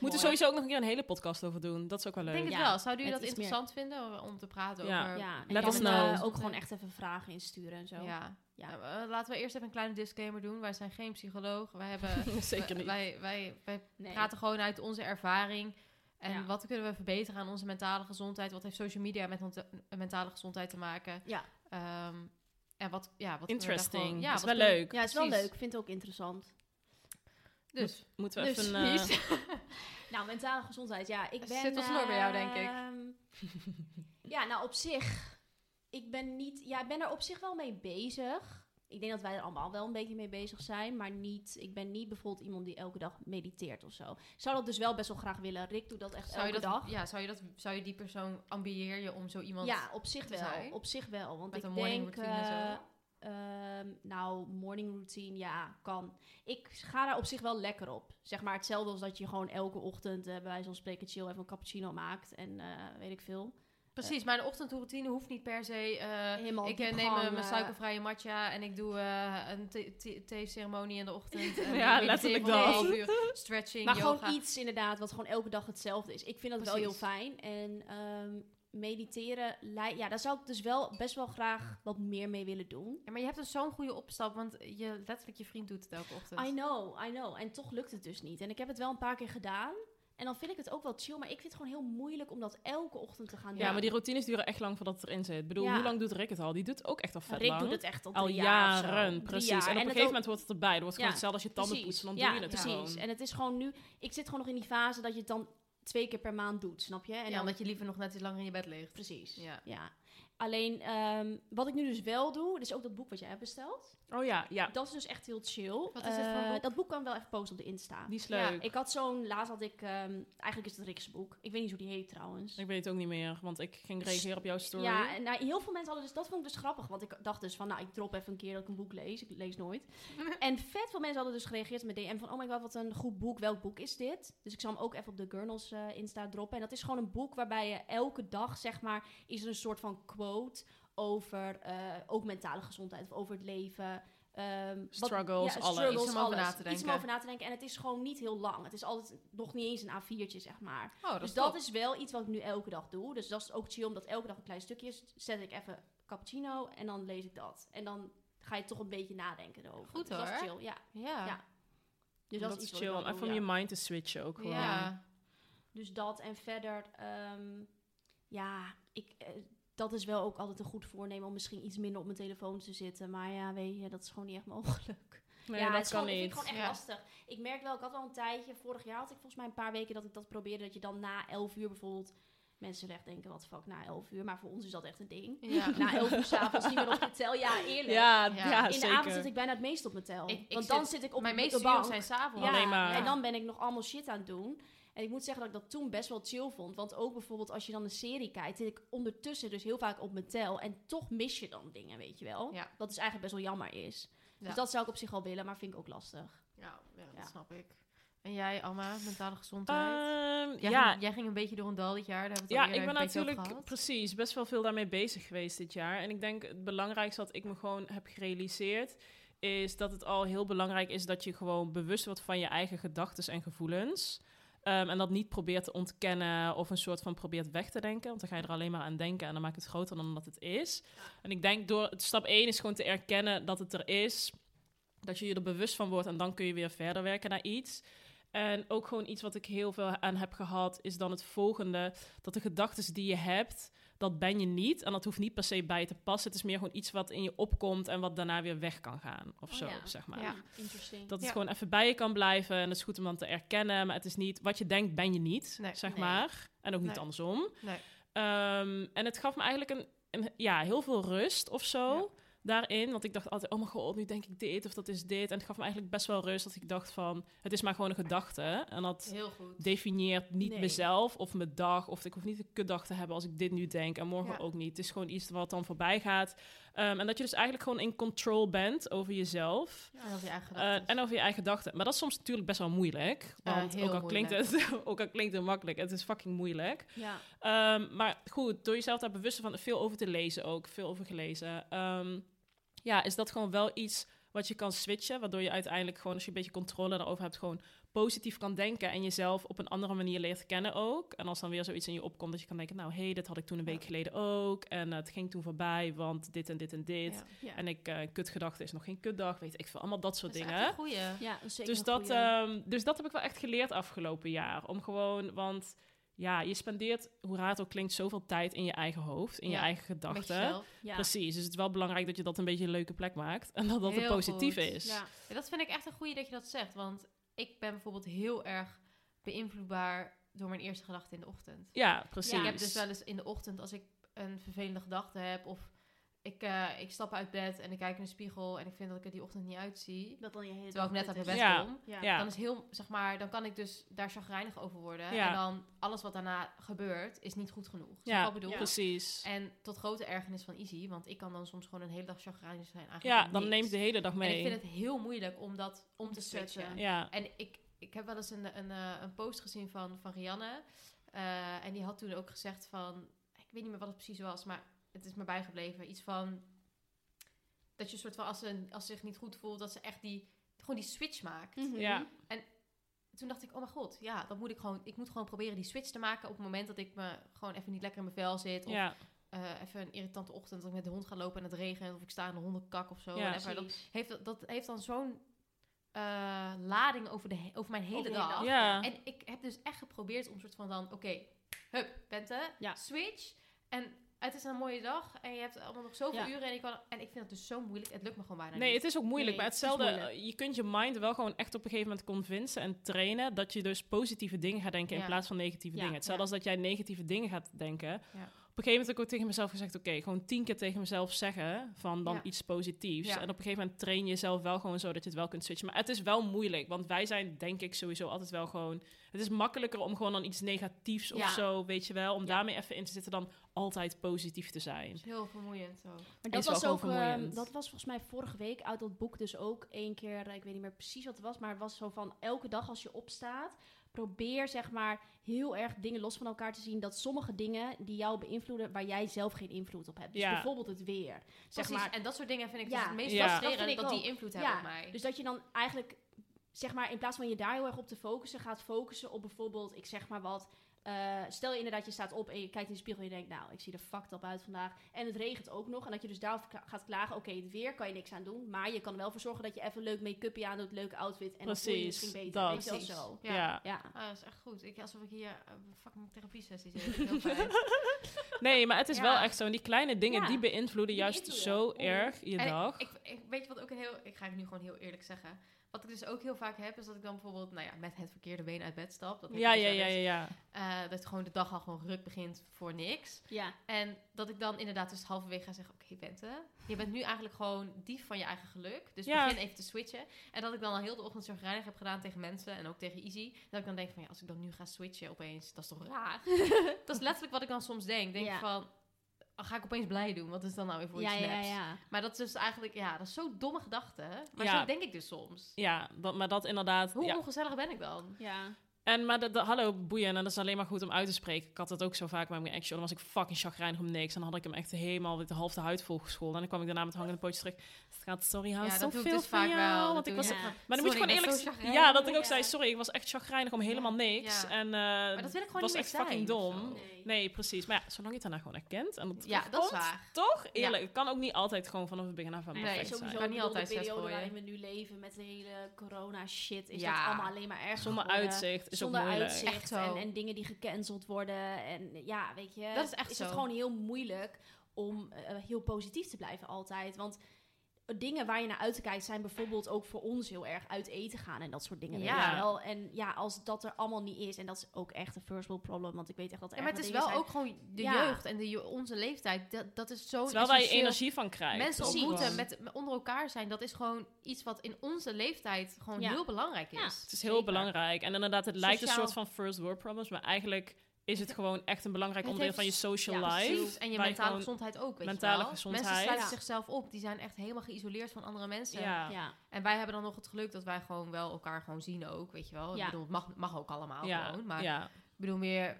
C: Moeten we
B: mooi.
C: sowieso ook nog een keer een hele podcast over doen. Dat is ook wel
D: Ik denk
C: leuk.
D: het
B: Ja,
D: wel. Zouden jullie
B: met
D: dat
B: iets meer.
D: interessant vinden om te praten
C: Ja.
D: over...
B: Ja, en
C: Let
B: je
C: us
B: kan,
C: know.
B: eh, ook gewoon echt even vragen insturen en zo.
D: Ja.
B: Ja.
D: Nou, eh, laten we eerst even een kleine disclaimer doen. Wij zijn geen psycholoog. Wij, hebben,
C: Zeker niet.
D: wij, wij, wij
B: Nee.
D: praten gewoon uit onze ervaring. En
B: Ja.
D: wat kunnen we verbeteren aan onze mentale gezondheid? Wat heeft social media met onze eh, mentale gezondheid te maken?
B: Ja.
D: Ehm, en wat, ja, wat kunnen we daar
C: Interesting.
D: gewoon-
C: dat is
D: wat
C: wel
D: kunnen-
C: leuk.
B: ja, het is wel
D: Precies.
B: leuk. Ik vind het ook interessant.
D: Dus,
C: Moeten we
D: dus
C: even...
D: wie
C: eh,
D: is-
B: Nou, mentale gezondheid, ja. Ik
D: Het
B: ben,
D: zit ons nooit bij jou, denk ik.
B: ehm, ja, nou, op zich. Ik ben niet... Ja, ik ben er op zich wel mee bezig. Ik denk dat wij er allemaal wel een beetje mee bezig zijn. Maar niet... Ik ben niet bijvoorbeeld iemand die elke dag mediteert of zo. Ik zou dat dus wel best wel graag willen. Rick doet dat echt
D: zou, je
B: elke
D: dat,
B: dag.
D: ja, zou, je dat, zou je die persoon ambieer je om zo iemand...
B: Ja, op zich
D: te
B: wel.
D: zijn?
B: Op zich wel. Want
D: Met
B: ik
D: een morning
B: denk,
D: routine en zo?
B: eh, ehm, nou, morning routine, ja, kan. Ik ga daar op zich wel lekker op. Zeg maar hetzelfde als dat je gewoon elke ochtend, eh, bij wijze van spreken, chill even een cappuccino maakt. En eh, weet ik veel.
D: Precies, maar een ochtendroutine hoeft niet per se... eh,
B: Helemaal
D: ik eh,
B: diepgang,
D: neem eh, mijn
B: eh,
D: suikervrije matcha en ik doe eh, een thee- thee- theeceremonie in de ochtend. en
C: Ja,
D: mediteer
C: letterlijk
D: voor een
C: dat.
D: half uur. Stretching,
B: Maar
D: yoga.
B: gewoon iets inderdaad, wat gewoon elke dag hetzelfde is. Ik vind dat wel heel
D: Precies.
B: fijn. En ehm, mediteren, lei- ja, daar zou ik dus wel best wel graag wat meer mee willen doen.
D: Ja, maar je hebt dus zo'n goede opstap, want je, letterlijk je vriend doet het elke ochtend.
B: I know, I know. En toch lukt het dus niet. En ik heb het wel een paar keer gedaan. En dan vind ik het ook wel chill, maar ik vind het gewoon heel moeilijk om dat elke ochtend te gaan doen.
C: Ja, maar die routines duren echt lang voordat het erin zit. Ik bedoel,
B: Ja.
C: hoe lang doet Rick het al? Die doet ook echt al vet
B: Rick
C: lang.
B: doet het echt al,
C: al
B: drie jaar of zo.
C: jaren,
B: Drie
C: precies.
B: jaar.
C: En op een
B: het
C: georgegeven
B: ook-
C: moment wordt het erbij. Dat wordt gewoon
B: Ja,
C: hetzelfde als je tanden
B: precies.
C: poetsen. Dan
B: Ja,
C: doe je het
B: precies.
C: gewoon.
B: En het is gewoon nu... Ik zit gewoon nog in die fase dat je het dan twee keer per maand doet, snap je? En
D: En
B: dan,
D: omdat je liever nog net iets langer in je bed ligt.
B: Precies.
D: Ja.
B: Ja. Alleen, ehm, wat ik nu dus wel doe, dus ook dat boek wat jij hebt besteld.
C: Oh ja, ja.
B: Dat is dus echt heel chill.
D: Wat is het voor
B: Eh,
D: boek?
B: Dat boek kan ik wel even posten op de Insta.
C: Die is
D: Ja,
C: leuk.
B: Ik had zo'n, laatst had ik, ehm, eigenlijk is het Rick's boek. Ik weet niet hoe die heet trouwens.
C: Dus Ik weet het ook niet meer, want ik ging reageren op jouw story.
B: Dus Ja, en nou, heel veel mensen hadden dus, dat vond ik dus grappig. Want ik dacht dus van, nou, ik drop even een keer dat ik een boek lees. Ik lees nooit. en vet veel mensen hadden dus gereageerd met DM van, oh my god, wat een goed boek. Welk boek is dit? Dus ik zal hem ook even op de Gurnals eh, Insta droppen. En dat is gewoon een boek waarbij je elke dag, zeg maar, is er een soort van quote over eh, ook mentale gezondheid of over het leven. ehm, wat-
C: Struggles, alles.
D: Iets om over na te
B: Iets om
D: denken.
B: over na te denken. En het is gewoon niet heel lang. Het is altijd nog niet eens een A4'tje, zeg maar.
D: Oh, dat
B: Dus
D: is
B: dat
D: top.
B: is wel iets wat ik nu elke dag doe. Dus dat is ook chill, omdat elke dag een klein stukje is. Zet ik even cappuccino en dan lees ik dat. En dan ga je toch een beetje nadenken erover.
D: Goed,
B: Dus dat is
D: hoor.
B: chill, ja.
D: Ja.
B: Ja. Dus dat,
C: dat
B: is
C: is
B: iets
C: chill.
B: Wat ik wel
C: Even
B: doe,
C: om
B: ja.
C: je mind te switchen ook gewoon.
D: Ja.
B: Dus dat en verder, ehm, ja, ik, eh, dat is wel ook altijd een goed voornemen om misschien iets minder op mijn telefoon te zitten. Maar ja, weet je, dat is gewoon niet echt mogelijk.
C: Nee,
B: ja,
C: dat
B: het is
C: kan
B: gewoon,
C: niet.
B: Ik vind het
D: Ja.
B: gewoon echt lastig. Ik merk wel, ik had al een tijdje, vorig jaar had ik volgens mij een paar weken dat ik dat probeerde. Dat je dan na 11 uur bijvoorbeeld, mensen zullen echt denken, wat fuck, na 11 uur. Maar voor ons is dat echt een ding.
D: Ja.
B: Na 11 uur s'avonds niet meer op de tel. Ja, eerlijk.
C: Ja,
D: Ja.
C: ja,
D: In
B: In de
C: zeker.
B: avond zit ik bijna het meest op mijn tel.
D: Ik- ik
B: Want
D: zit-
B: dan zit ik op
D: Mijn
B: de
D: meeste
B: bank.
D: uren zijn s'avonds.
B: Ja,
C: Alleen maar.
B: en dan ben ik nog allemaal shit aan het doen. En ik moet zeggen dat ik dat toen best wel chill vond. Want ook bijvoorbeeld als je dan een serie kijkt, zit ik ondertussen dus heel vaak op mijn tel. En toch mis je dan dingen, weet je wel.
D: Ja.
B: Wat dus eigenlijk best wel jammer is.
D: Ja.
B: Dus dat zou ik op zich al willen, maar vind ik ook lastig.
D: Ja, ja, dat
B: Ja.
D: snap ik. En jij, Alma, mentale gezondheid?
C: Ehm,
D: jij,
C: ja,
D: ging, jij ging een beetje door een dal dit jaar. Daar hebben we
C: Ja,
D: het al
C: ik ben
D: eerder een beetje over
C: natuurlijk
D: gehad.
C: precies best wel veel daarmee bezig geweest dit jaar. En ik denk het belangrijkste wat ik me gewoon heb gerealiseerd is dat het al heel belangrijk is dat je gewoon bewust wordt van je eigen gedachten en gevoelens. Ehm, en dat niet probeert te ontkennen of een soort van probeert weg te denken. Want dan ga je er alleen maar aan denken en dan maakt het groter dan dat het is. En ik denk door stap 1 is gewoon te erkennen dat het er is. Dat je je er bewust van wordt en dan kun je weer verder werken naar iets. En ook gewoon iets wat ik heel veel aan heb gehad, is dan het volgende. Dat de gedachten die je hebt, dat ben je niet. En dat hoeft niet per se bij je te passen. Het is meer gewoon iets wat in je opkomt en wat daarna weer weg kan gaan. Of
B: Oh
C: zo,
B: ja.
C: zeg maar.
D: Ja.
B: Interesting.
C: Dat het
D: Ja.
C: gewoon even bij je kan blijven. En het is goed om dan te erkennen. Maar het is niet, wat je denkt ben je niet,
D: Nee.
C: zeg
D: Nee.
C: maar. En ook niet
D: Nee.
C: andersom.
D: Nee.
C: Ehm, en het gaf me eigenlijk een, een- ja, heel veel rust of zo
D: Ja.
C: daarin. Want ik dacht altijd, oh mijn god, nu denk ik dit of dat is dit. En het gaf me eigenlijk best wel rust dat ik dacht van, het is maar gewoon een gedachte. En dat
D: Heel goed.
C: definieert niet
B: Nee.
C: mezelf of mijn dag. Of ik hoef niet een kutdag te hebben als ik dit nu denk en morgen
D: Ja.
C: ook niet. Het is gewoon iets wat dan voorbij gaat. Ehm, en dat je dus eigenlijk gewoon in control bent over jezelf.
D: En dat je eigen
C: Eh,
D: gedachtes.
C: en over je eigen gedachten. Maar dat is soms natuurlijk best wel moeilijk.
D: Ja,
C: Want
D: heel
C: ook, al
D: moeilijk.
C: Klinkt het, ook al klinkt het makkelijk, het is fucking moeilijk.
B: Ja.
C: Ehm, maar goed, door jezelf daar bewust van veel over te lezen ook, veel over gelezen. ehm, ja, is dat gewoon wel iets wat je kan switchen, waardoor je uiteindelijk gewoon, als je een beetje controle daarover hebt, gewoon positief kan denken en jezelf op een andere manier leert kennen ook. En als dan weer zoiets in je opkomt, dat je kan denken, nou hé, hey, dit had ik toen een week geleden ook en eh, het ging toen voorbij, want dit en dit en dit.
D: Ja.
B: Ja.
C: En ik, eh kutgedachte is nog geen kutdag, weet ik veel, allemaal dat soort
D: Dat is echt
C: dingen.
D: een goeie.
B: Ja, dat is zeker
C: Dus
B: een
C: dat,
B: goeie.
C: ehm, dus dat heb ik wel echt geleerd afgelopen jaar. Om gewoon, want ja, je spendeert, hoe raar het ook klinkt, zoveel tijd in je eigen hoofd, in
D: Ja,
C: je eigen
D: Met
C: gedachten.
D: jezelf.
B: ja.
C: Precies, dus het is wel belangrijk dat je dat een beetje een leuke plek maakt. En dat dat
D: Heel
C: er positief
D: goed.
C: is.
B: Ja.
D: Ja, dat vind ik echt een goeie dat je dat zegt. Want ik ben bijvoorbeeld heel erg beïnvloedbaar door mijn eerste gedachte in de ochtend.
C: Ja, precies.
D: Ik heb dus wel eens in de ochtend, als ik een vervelende gedachte heb... of ik, eh, ik stap uit bed en ik kijk in de spiegel... en ik vind dat ik er die ochtend niet uitzie...
B: Dat dan je hele
D: terwijl ik
B: dag
D: net uit mijn
B: kut
D: bed
B: is.
C: Ja.
D: kom...
B: Ja.
C: Ja.
D: Dan is heel, zeg maar, dan kan ik dus daar chagrijnig over worden.
C: Ja.
D: En dan alles wat daarna gebeurt, is niet goed genoeg. Snap je
C: Ja,
D: wat ik bedoel?
C: precies.
D: En tot grote ergernis van Izzy, want ik kan dan soms gewoon een hele dag chagrijnig zijn. Eigenlijk
C: ja,
D: om
C: dan
D: niks.
C: neem je de hele dag
D: En
C: mee.
D: ik vind het heel moeilijk om dat om te switchen.
B: zetten.
C: Ja,
D: En ik, ik heb wel eens een, een, eh, een post gezien van, van Rianne. eh, en die had toen ook gezegd van... Ik weet niet meer wat het precies was, maar het is me bijgebleven. Iets van... Dat je soort van, als ze, als ze zich niet goed voelt, dat ze echt die... Gewoon die switch maakt.
B: Mhm.
C: ja,
D: Toen dacht ik, oh mijn god, ja, dan moet ik gewoon... Ik moet gewoon proberen die switch te maken op het moment dat ik me gewoon even niet lekker in mijn vel zit. Of
C: ja,
D: eh, even een irritante ochtend dat ik met de hond ga lopen en het regent. Of ik sta in de hondenkak of zo.
C: Ja.
D: whatever. Dat,
B: Precies.
D: heeft, dat- dat heeft dan zo'n eh, lading over, de, he- over mijn hele
B: Over de hele
D: dag.
B: dag.
C: ja.
D: En ik heb dus echt geprobeerd om soort van dan, oké, hup, Bente,
B: Ja.
D: switch. En het is een mooie dag en je hebt allemaal nog zoveel
B: Ja.
D: uren en ik, kan, en ik vind het dus zo moeilijk. Het lukt me gewoon bijna
C: Nee,
D: niet.
C: het is ook moeilijk.
B: Nee,
C: maar
B: het is
C: hetzelfde,
B: moeilijk.
C: eh, je kunt je mind wel gewoon echt op een gegeven moment convincen en trainen dat je dus positieve dingen gaat denken
D: Ja.
C: in plaats van negatieve
B: Ja,
C: dingen. Hetzelfde
B: ja.
C: als dat jij negatieve dingen gaat denken.
D: Ja.
C: Op een gegeven moment heb ik ook tegen mezelf gezegd, oké, gewoon tien keer tegen mezelf zeggen van dan
B: Ja.
C: iets positiefs.
D: Ja.
C: En op een gegeven moment train je jezelf wel gewoon zo dat je het wel kunt switchen. Maar het is wel moeilijk, want wij zijn denk ik sowieso altijd wel gewoon... Het is makkelijker om gewoon dan iets negatiefs
D: Ja.
C: of zo, weet je wel, om daarmee even in te zitten dan altijd positief te zijn.
D: Heel vermoeiend zo.
B: Maar dat
C: Is wel
B: was
C: gewoon
B: ook, ehm,
C: vermoeiend.
B: dat was volgens mij vorige week uit dat boek dus ook één keer, eh, ik weet niet meer precies wat het was, maar het was zo van elke dag als je opstaat, probeer zeg maar heel erg dingen los van elkaar te zien. Dat sommige dingen die jou beïnvloeden, waar jij zelf geen invloed op hebt. Dus
C: Ja.
B: bijvoorbeeld het weer. Zeg
D: Precies,
B: maar,
D: en dat soort dingen vind ik
B: Ja.
D: dus het meest
C: Ja.
B: Dat
D: frustrerend
B: vind ik
D: dat die
B: ook.
D: invloed
B: Ja.
D: hebben op mij.
B: Dus dat je dan eigenlijk, zeg maar, in plaats van je daar heel erg op te focussen, gaat focussen op bijvoorbeeld, ik zeg maar wat. eh, stel je inderdaad, je staat op en je kijkt in de spiegel en je denkt, nou, ik zie er fucked up uit vandaag. En het regent ook nog. En dat je dus daarover kla- gaat klagen, oké, het weer kan je niks aan doen. Maar je kan er wel voor zorgen dat je even leuk make-upje aan doet, leuke outfit. En dan voel je je
C: Precies,
B: misschien beter.
C: dat.
B: Weet je wel
D: Precies.
B: zo.
D: Ja.
C: ja.
B: Ja.
D: Ah, dat is echt goed. Ik, alsof ik hier eh, fucking therapie sessies zit. Heel fijn.
C: Nee, maar het is
D: Ja.
C: wel echt zo. En die kleine dingen,
B: Ja.
C: die beïnvloeden
B: Die
C: juist
B: beïnvloeden.
C: zo
B: Oeh.
C: erg je
D: En ik-
C: dag.
D: Ik, ik, weet je wat ook een heel... Ik ga het nu gewoon heel eerlijk zeggen. Wat ik dus ook heel vaak heb, is dat ik dan bijvoorbeeld nou ja, met het verkeerde been uit bed stap. Dat heb
C: ja,
D: ik dus
C: ja,
D: wel
C: ja, ja,
D: eens.
C: ja.
D: Eh, dat gewoon de dag al gewoon ruk begint voor niks.
B: Ja.
D: En dat ik dan inderdaad dus halverwege ga zeggen... Oké, Bente, je bent nu eigenlijk gewoon dief van je eigen geluk. Dus
C: Ja.
D: begin even te switchen. En dat ik dan al heel de ochtend zorgreinig heb gedaan tegen mensen... en ook tegen Izzy. Dat ik dan denk van... ja, als ik dan nu ga switchen opeens, dat is toch raar? dat is letterlijk wat ik dan soms denk. Denk
B: Ja.
D: van... oh, Ga ik opeens blij doen? Wat is dan nou weer voor
B: Ja,
D: iets
B: ja,
D: neps?
B: ja.
D: Maar dat is dus eigenlijk, ja, dat is zo'n domme gedachte. Maar
C: Ja.
D: zo denk ik dus soms.
C: Ja, dat, maar dat inderdaad.
D: Hoe
C: ja. Nou,
D: ongezellig ben ik dan?
B: Ja.
C: En maar dat, dat- hallo boeien, en dat is alleen maar goed om uit te spreken. Ik had dat ook zo vaak met mijn ex-show. Dan was ik fucking chagrijnig om niks. En dan had ik hem echt helemaal weer de half de huid volgescholden. En dan kwam ik daarna met hangende pootjes terug. Het gaat, sorry, hou
D: ja,
C: zo
D: dat
C: veel
D: doe ik dus
C: van
D: vaak
C: jou.
D: wel.
C: Want ik was,
B: doe ik.
C: maar
B: Ja.
C: dan moet je gewoon eerlijk
D: zijn.
C: Ja, dat ik ook
B: Ja.
C: zei, sorry, ik was echt chagrijnig om helemaal niks.
D: Ja.
C: En eh,
D: Maar dat wil ik gewoon
C: was
D: niet
C: echt
D: meer
C: fucking
D: zijn of
C: dom.
D: zo.
B: Nee.
C: Nee, precies. Maar ja, zolang je het daarna gewoon herkent. En dat
D: Ja, dat is
C: terugkomt,
D: waar.
C: Toch? Eerlijk, het kan ook niet altijd gewoon vanaf het begin af aan
D: Nee,
C: perfect
B: sowieso
C: zijn.
D: Kan niet
B: ik bedoel,
D: altijd
B: de
D: zes
B: periode
D: gooien.
B: waarin we nu leven met de hele corona shit is
D: Ja.
B: dat allemaal alleen maar erger
C: Zonder
B: geworden.
C: uitzicht is
B: zonder
C: ook moeilijk.
B: uitzicht
D: Echt zo.
B: en, en dingen die gecanceld worden. En ja, weet je,
D: Dat is echt
B: het
D: zo.
B: gewoon heel moeilijk om eh, heel positief te blijven altijd. Want dingen waar je naar uit kijkt zijn bijvoorbeeld ook voor ons heel erg uit eten gaan en dat soort dingen. weet
D: Ja.
B: je wel. En ja, als dat er allemaal niet is, en dat is ook echt een first world problem, want ik weet echt dat er
D: Ja, maar het
B: ergere
D: is
B: dingen
D: wel
B: zijn.
D: ook gewoon de
B: Ja.
D: jeugd en de, je- onze leeftijd. Dat, dat is zo
C: Terwijl waar je
D: essentieel.
C: energie van krijgt.
D: Mensen
C: Ook
D: ontmoeten,
C: gewoon.
D: met, met- onder elkaar zijn. Dat is gewoon iets wat in onze leeftijd gewoon
B: Ja.
D: heel belangrijk is.
B: Ja.
C: Het is heel belangrijk. En inderdaad, het lijkt een
D: Sociaal-
C: soort van first world problems, maar eigenlijk is het gewoon echt een belangrijk
D: Het
C: onderdeel van je
D: heeft-
C: social
B: ja,
C: life.
D: Precies. En je
C: Wij
D: mentale
C: gewoon-
D: gezondheid ook, weet
C: mentale
D: je wel. Mensen
C: gezondheid.
D: sluiten
B: Ja.
D: zichzelf op. Die zijn echt helemaal geïsoleerd van andere mensen.
C: Ja.
B: Ja,
D: En wij hebben dan nog het geluk dat wij gewoon wel elkaar gewoon zien ook, weet je wel.
B: Ja.
D: Ik bedoel, het mag, mag ook allemaal
C: Ja,
D: gewoon. Maar
C: ja.
D: ik bedoel meer,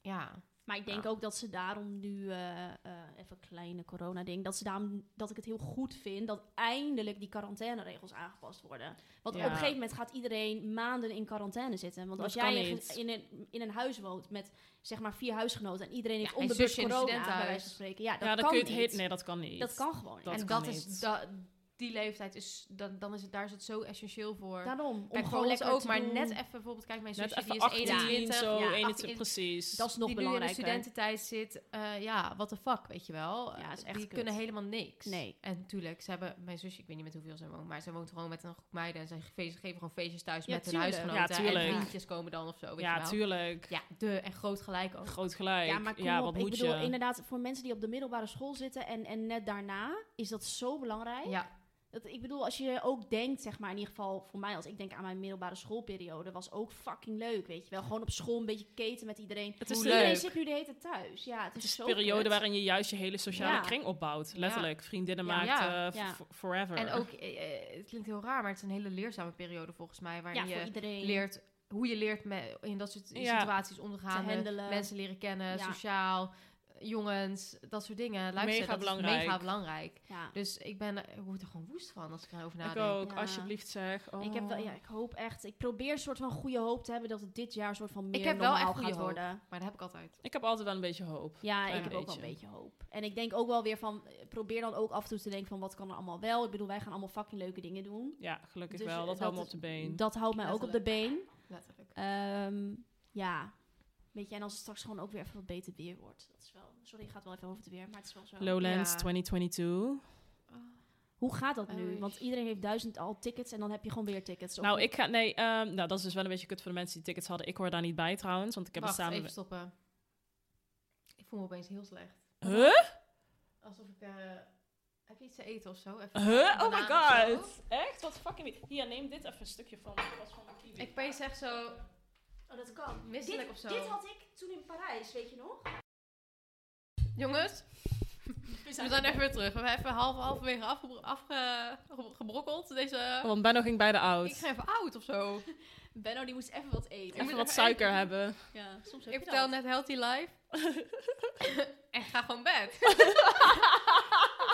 D: ja.
B: Maar ik denk
D: Ja.
B: ook dat ze daarom nu, eh, eh, even een kleine corona-ding, dat, ze daarom, dat ik het heel goed vind dat eindelijk die quarantaineregels aangepast worden. Want
C: Ja.
B: op een gegeven moment gaat iedereen maanden in quarantaine zitten. Want
C: Dat
B: als
C: kan
B: jij in,
C: niet.
B: in een, in een huis woont met zeg maar vier huisgenoten en iedereen heeft
D: Ja, en
B: onbewust
D: zusje in het
B: corona, bij
D: studentenhuis.
B: wijze van spreken. Ja, dat
C: ja, dan
B: kan
C: kun je het
B: niet.
C: heet. Nee, dat kan niet.
B: dat kan gewoon niet.
C: Dat
D: en
C: kan
D: dat
C: niet.
D: is, da- die leeftijd is, dan dan is het, daar is het zo essentieel voor.
B: Daarom, om
D: kijk, voor
B: gewoon
D: ons
B: lekker
D: ook,
B: te
D: maar
B: doen.
D: net even bijvoorbeeld, kijk, mijn
C: Net
D: zusje dus die
C: even
D: is
C: 18,
D: 21,
C: zo,
B: ja,
C: 21,
D: 18,
C: precies.
B: dat is nog
D: die nu in de
B: belangrijker.
D: studententijd zit. eh, ja, what the fuck, weet je wel. Eh,
B: Ja, is echt
D: die
B: kut.
D: kunnen helemaal niks.
B: Nee.
D: En natuurlijk, ze hebben, mijn zusje, ik weet niet met hoeveel ze woont, maar ze woont gewoon met een groep meiden en ze ge- ze geven gewoon feestjes thuis
B: Ja,
D: met
B: tuurlijk.
D: hun
C: Ja,
D: huisgenoten.
C: tuurlijk.
D: en vriendjes komen dan of zo, weet je
C: ja,
D: wel.
C: tuurlijk.
D: Ja, de en groot gelijk ook.
C: Groot gelijk.
B: Ja, maar kom op.
C: wat
B: ik
C: moet
B: bedoel,
C: je?
B: inderdaad, voor mensen die op de middelbare school zitten en, en net daarna, is dat zo belangrijk.
D: Ja,
B: Dat, ik bedoel, als je ook denkt, zeg maar, in ieder geval voor mij, als ik denk aan mijn middelbare schoolperiode, was ook fucking leuk, weet je wel. Gewoon op school een beetje keten met iedereen.
C: Het is
D: Hoe
B: Iedereen
C: leuk.
B: zit nu de hele tijd thuis. Ja, het is,
C: Het is
B: zo
C: een periode
B: kut.
C: waarin je juist je hele sociale
B: Ja.
C: kring opbouwt. Letterlijk. Vriendinnen
B: Ja.
C: maakt
D: Ja.
C: eh,
B: Ja.
C: f- forever.
D: en ook, eh, eh, het klinkt heel raar, maar het is een hele leerzame periode volgens mij,
B: Ja,
D: waarin
B: voor
D: je
B: iedereen.
D: leert hoe je leert met, in dat soort
C: Ja.
D: situaties om te gaan,
B: Te
D: eh,
B: handelen.
D: mensen leren kennen,
B: Ja.
D: sociaal, eh, jongens, dat soort dingen. Luister,
C: Mega
D: dat
C: belangrijk.
D: is mega belangrijk.
B: Ja.
D: Dus ik ben, ik word er gewoon woest van als ik erover
C: Ik
D: nadenk.
C: ook,
B: Ja.
C: alsjeblieft zeg. Oh.
B: Ik, heb wel, ja, ik hoop echt, ik probeer een soort van goede hoop te hebben dat het dit jaar een soort van meer
D: heb wel
B: normaal
D: echt goede
B: gaat
D: hoop.
B: worden.
D: Maar dat heb ik altijd.
C: Ik heb altijd wel een beetje hoop.
B: Ja,
C: Klein
B: ik heb ook wel een
C: beetje.
B: beetje hoop. En ik denk ook wel weer van, eh, probeer dan ook af en toe te denken van, wat kan er allemaal wel? Ik bedoel, wij gaan allemaal fucking leuke dingen doen.
C: Ja, gelukkig
B: Dus,
C: wel.
B: eh,
C: Dat, houdt me
B: dat-
C: op de been.
B: Dat houdt mij ook op de been.
D: Letterlijk.
B: Ehm, ja. Weet je, en als het straks gewoon ook weer even wat beter weer wordt. Dat is wel, sorry, ik ga het wel even over het weer, maar het is wel zo.
C: Lowlands
D: Ja.
C: 2022.
B: Hoe gaat dat nu?
D: Oei.
B: Want iedereen heeft duizend al tickets en dan heb je gewoon weer tickets. Of
C: Nou,
B: niet?
C: ik ga... Nee, ehm, nou, dat is dus
D: Ah,
C: wel een beetje kut voor de mensen die tickets hadden. Ik hoor daar niet bij trouwens, want ik heb
D: Wacht,
C: het samen...
D: even stoppen. voel me opeens heel slecht.
C: Huh?
D: Alsof ik daar... eh, heb je iets te eten of zo? Even
C: Huh?
D: een
C: Oh my
D: banaan of
C: god. Echt? Wat fucking... wie- Hier, neem dit even een stukje van. Pas van mijn
D: zo?
C: kiwi.
D: Ik opeens echt zo
B: Oh, dat kan.
D: misselijk of zo.
B: Dit had ik toen in Parijs, weet je nog?
D: Jongens, we zijn even weer terug. We hebben even half halverwege afgebro- afge- ge- gebrokkeld. Deze...
C: Oh, Want Benno ging bij de
D: Ik
C: oud.
D: ga even oud of zo.
B: Benno, die moest even wat eten.
C: Even
D: moet
C: wat
D: even
C: suiker
D: eten.
C: hebben.
B: Ja, soms heb
D: Ik
B: je
D: vertel
B: dat.
D: net healthy life. en ga gewoon bed.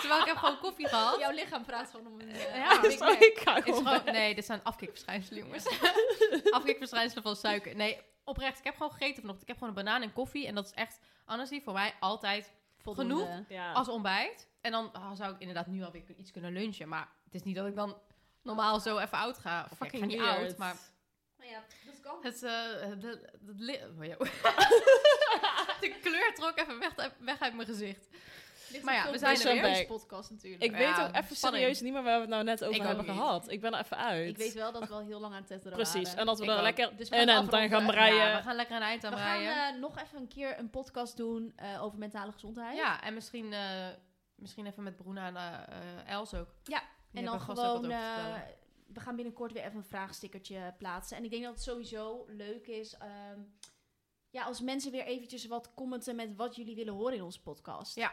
D: Terwijl ik heb gewoon koffie gehad.
B: Jouw lichaam praat gewoon om een... eh,
D: Ja,
B: Big
D: sorry.
B: Mac.
C: Ik ga
D: Het is
C: gewoon...
D: gewoon, nee, dit zijn afkikverschijnselen, jongens. afkikverschijnselen van suiker. Nee, oprecht. Ik heb gewoon gegeten vanochtend. Ik heb gewoon een banaan en koffie. En dat is echt, honestly, voor mij altijd
B: Voldoende.
D: Genoeg?
C: Ja.
D: als ontbijt. En dan ah, zou ik inderdaad nu alweer kun- iets kunnen lunchen. Maar het is niet dat ik dan normaal zo even oud ga. Of
C: Fucking
D: ik ga niet
C: weird.
D: oud, maar
B: Maar ja, dat kan.
D: het... eh, de, de, li- oh, joh. de kleur trok even weg, weg uit mijn gezicht.
B: Ligt
D: maar
B: ook
D: ja,
B: veel
D: we zijn er
B: beter
C: weer.
B: in deze podcast natuurlijk.
C: Ik
D: Ja,
C: weet ook even
D: spanning.
C: serieus niet meer waar we het nou net over
D: Ik ook
C: hebben
D: niet.
C: gehad. Ik ben er even uit.
B: Ik weet wel dat we al heel lang aan het tetteren
C: Precies. En
B: waren.
C: dat we
D: Ik
C: er
D: ook.
C: lekker
B: Dus we gaan
C: en en dan gaan
B: afronden.
C: breien.
D: eh, Ja, we gaan lekker een eind aan
B: we gaan
D: breien.
B: eh, nog even een keer een podcast doen eh, over mentale gezondheid.
D: ja, en misschien, eh, misschien even met Bruna en eh, eh, Els ook. Die
B: en
D: hebben
B: dan
D: vast ook wat
B: gewoon...
D: over te
B: eh,
D: vertellen.
B: we gaan binnenkort weer even een vraagstickertje plaatsen. En ik denk dat het sowieso leuk is... ehm, ja, als mensen weer eventjes wat commenten met wat jullie willen horen in onze podcast.
D: Ja.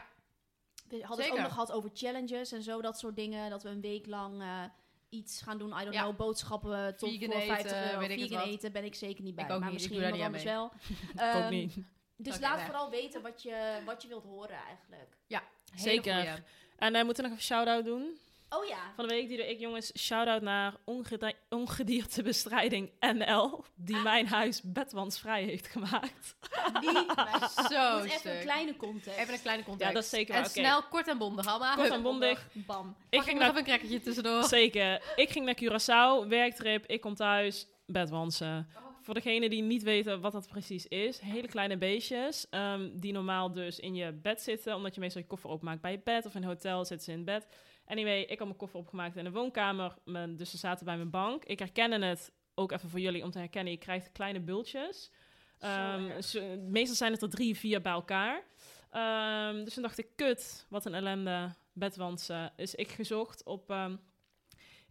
B: We hadden het
D: Zeker.
B: ook nog gehad over challenges en zo, dat soort dingen. Dat we een week lang eh, iets gaan doen. I don't
D: Ja.
B: know, boodschappen, tot
D: Vegan
B: voor 50
D: eten,
B: euro.
D: weet ik het
B: Vegan
D: wat.
B: eten ben ik zeker niet bij.
D: Ik ook
B: maar
D: niet, ik
B: misschien
D: doe daar
B: iemand
D: niet
B: anders wel.
C: Ik ook
B: Ehm,
C: niet.
B: Dus
D: Oké,
B: laat
D: nee.
B: vooral weten wat je, wat je wilt horen eigenlijk.
D: Hele
C: Zeker.
D: goeie.
C: En eh, moeten we nog een shout-out doen?
B: Oh ja.
C: Van de week die doe ik, jongens, shout-out naar ongedi- Ongediertebestrijding NL, die mijn huis bedwansvrij heeft gemaakt.
B: Die
D: Zo
B: moet even een
D: stuk.
B: kleine context.
D: Even een kleine context.
C: Ah. Ja, dat is zeker
D: En
C: waar. Oké.
D: snel, kort en bondig allemaal.
C: Kort en bondig.
B: Bam.
D: Ik
C: Ik
D: ging
C: ging
D: nog
C: naar,
D: even een crackertje tussendoor.
C: zeker. Ik ging naar Curaçao, werktrip, ik kom thuis, bedwansen. Voor degenen die niet weten wat dat precies is, hele kleine beestjes ehm, die normaal dus in je bed zitten, omdat je meestal je koffer opmaakt bij je bed of in een hotel zitten ze in bed. Anyway, ik had mijn koffer opgemaakt in de woonkamer, mijn- dus ze zaten bij mijn bank. Ik herkende het, ook even voor jullie om te herkennen, je krijgt kleine bultjes. Ehm, ze- meestal zijn het er drie, vier bij elkaar. Ehm, dus toen dacht ik, kut, wat een ellende, bedwansen. Dus ik gezocht op ehm,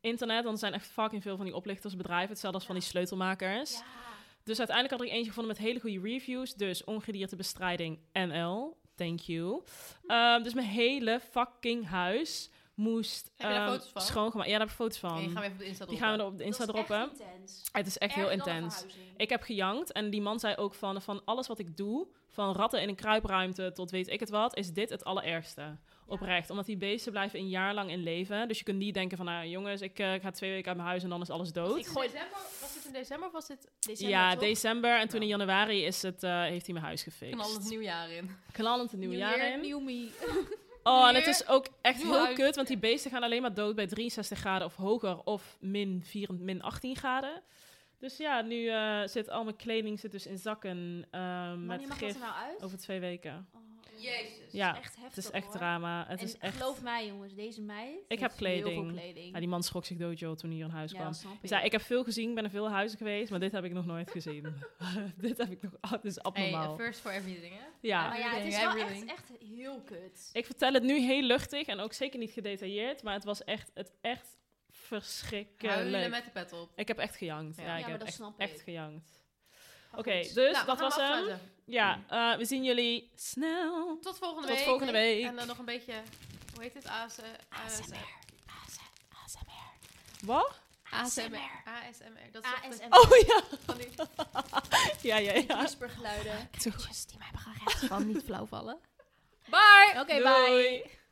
C: internet, want er zijn echt fucking veel van die oplichtersbedrijven, hetzelfde als van die sleutelmakers. Dus uiteindelijk had ik eentje gevonden met hele goede reviews. Dus ongediertebestrijding NL. Thank you.
D: Hm.
C: Ehm, dus mijn hele fucking huis moest
D: Heb je daar
C: ehm,
D: foto's van?
C: schoongemaakt. Ja, daar heb ik foto's van.
D: Die gaan we even op de Insta
C: Die gaan we
D: droppen.
C: er op de Insta droppen.
B: Echt intens.
C: Het is echt heel intens. Ik heb gejankt en die man zei ook van, van alles wat ik doe, van ratten in een kruipruimte tot weet ik het wat, is dit het allerergste. Oprecht, omdat die beesten blijven een jaar lang in leven. Dus je kunt niet denken van, nou jongens, ik eh, ga twee weken uit mijn huis en dan is alles dood.
D: Ik gooi... december, was dit in december of was dit
C: ja, december en toen in
D: Nou.
C: januari is het, eh, heeft hij mijn huis gefixt.
D: knal het nieuwjaar in?
C: Knallend het nieuwe jaar in.
B: New me.
C: Oh, en
D: Weer
C: het is ook echt
D: nieuw
C: heel
D: huis.
C: kut, want die beesten gaan alleen maar dood bij 63 graden of hoger of min, 4, min 18 graden. Dus ja, nu eh, zit al mijn kleding zit dus in zakken eh, met
B: Wanneer mag dat
C: gif
B: er nou uit?
C: over twee weken.
B: Oh,
D: Jezus.
C: Ja,
B: echt heftig,
C: het is echt
B: hoor.
C: drama. Het
B: en
C: is echt...
B: geloof mij jongens, deze meid
C: heb
B: heeft heel
C: kleding.
B: veel kleding.
C: Ja, die man schrok zich doodjoh toen hij hier in huis
B: Ja,
C: kwam.
B: dat snap
C: Dus
B: ik.
C: ja, ik heb veel gezien, ben in veel huizen geweest, maar dit heb ik nog nooit gezien. dit heb ik nog... ah, dit is
D: Hey,
C: abnormaal.
D: eh, first for everything, hè?
C: ja.
B: Maar ja, het is
D: Everything,
B: wel echt,
D: everything.
B: echt heel kut.
C: Ik vertel het nu heel luchtig en ook zeker niet gedetailleerd, maar het was echt, het echt
D: Huilen
C: verschrikkelijk.
D: met de pet op.
C: Ik heb echt gejankt. Ja,
D: Ja,
C: ik
B: maar
C: heb
B: dat
C: echt,
B: snap
C: echt
B: ik.
C: gejankt.
B: Maar
C: Oké,
B: goed.
C: dus
D: Nou, we
C: dat
D: gaan
C: was hem.
D: afsluiten.
C: Ja, eh, we zien jullie snel.
D: Tot volgende
C: Tot
D: week.
C: volgende week.
D: En dan nog een beetje... Hoe heet dit? AS, eh, ASMR.
C: Wat?
D: ASMR. ASMR. Dat is toch de-
B: ASMR.
C: Oh ja.
D: van die
C: Ja, ja, ja.
B: Whispergeluiden.
D: die mij hebben gered. Van niet flauw vallen.
B: Oké,
C: Doei.
B: bye.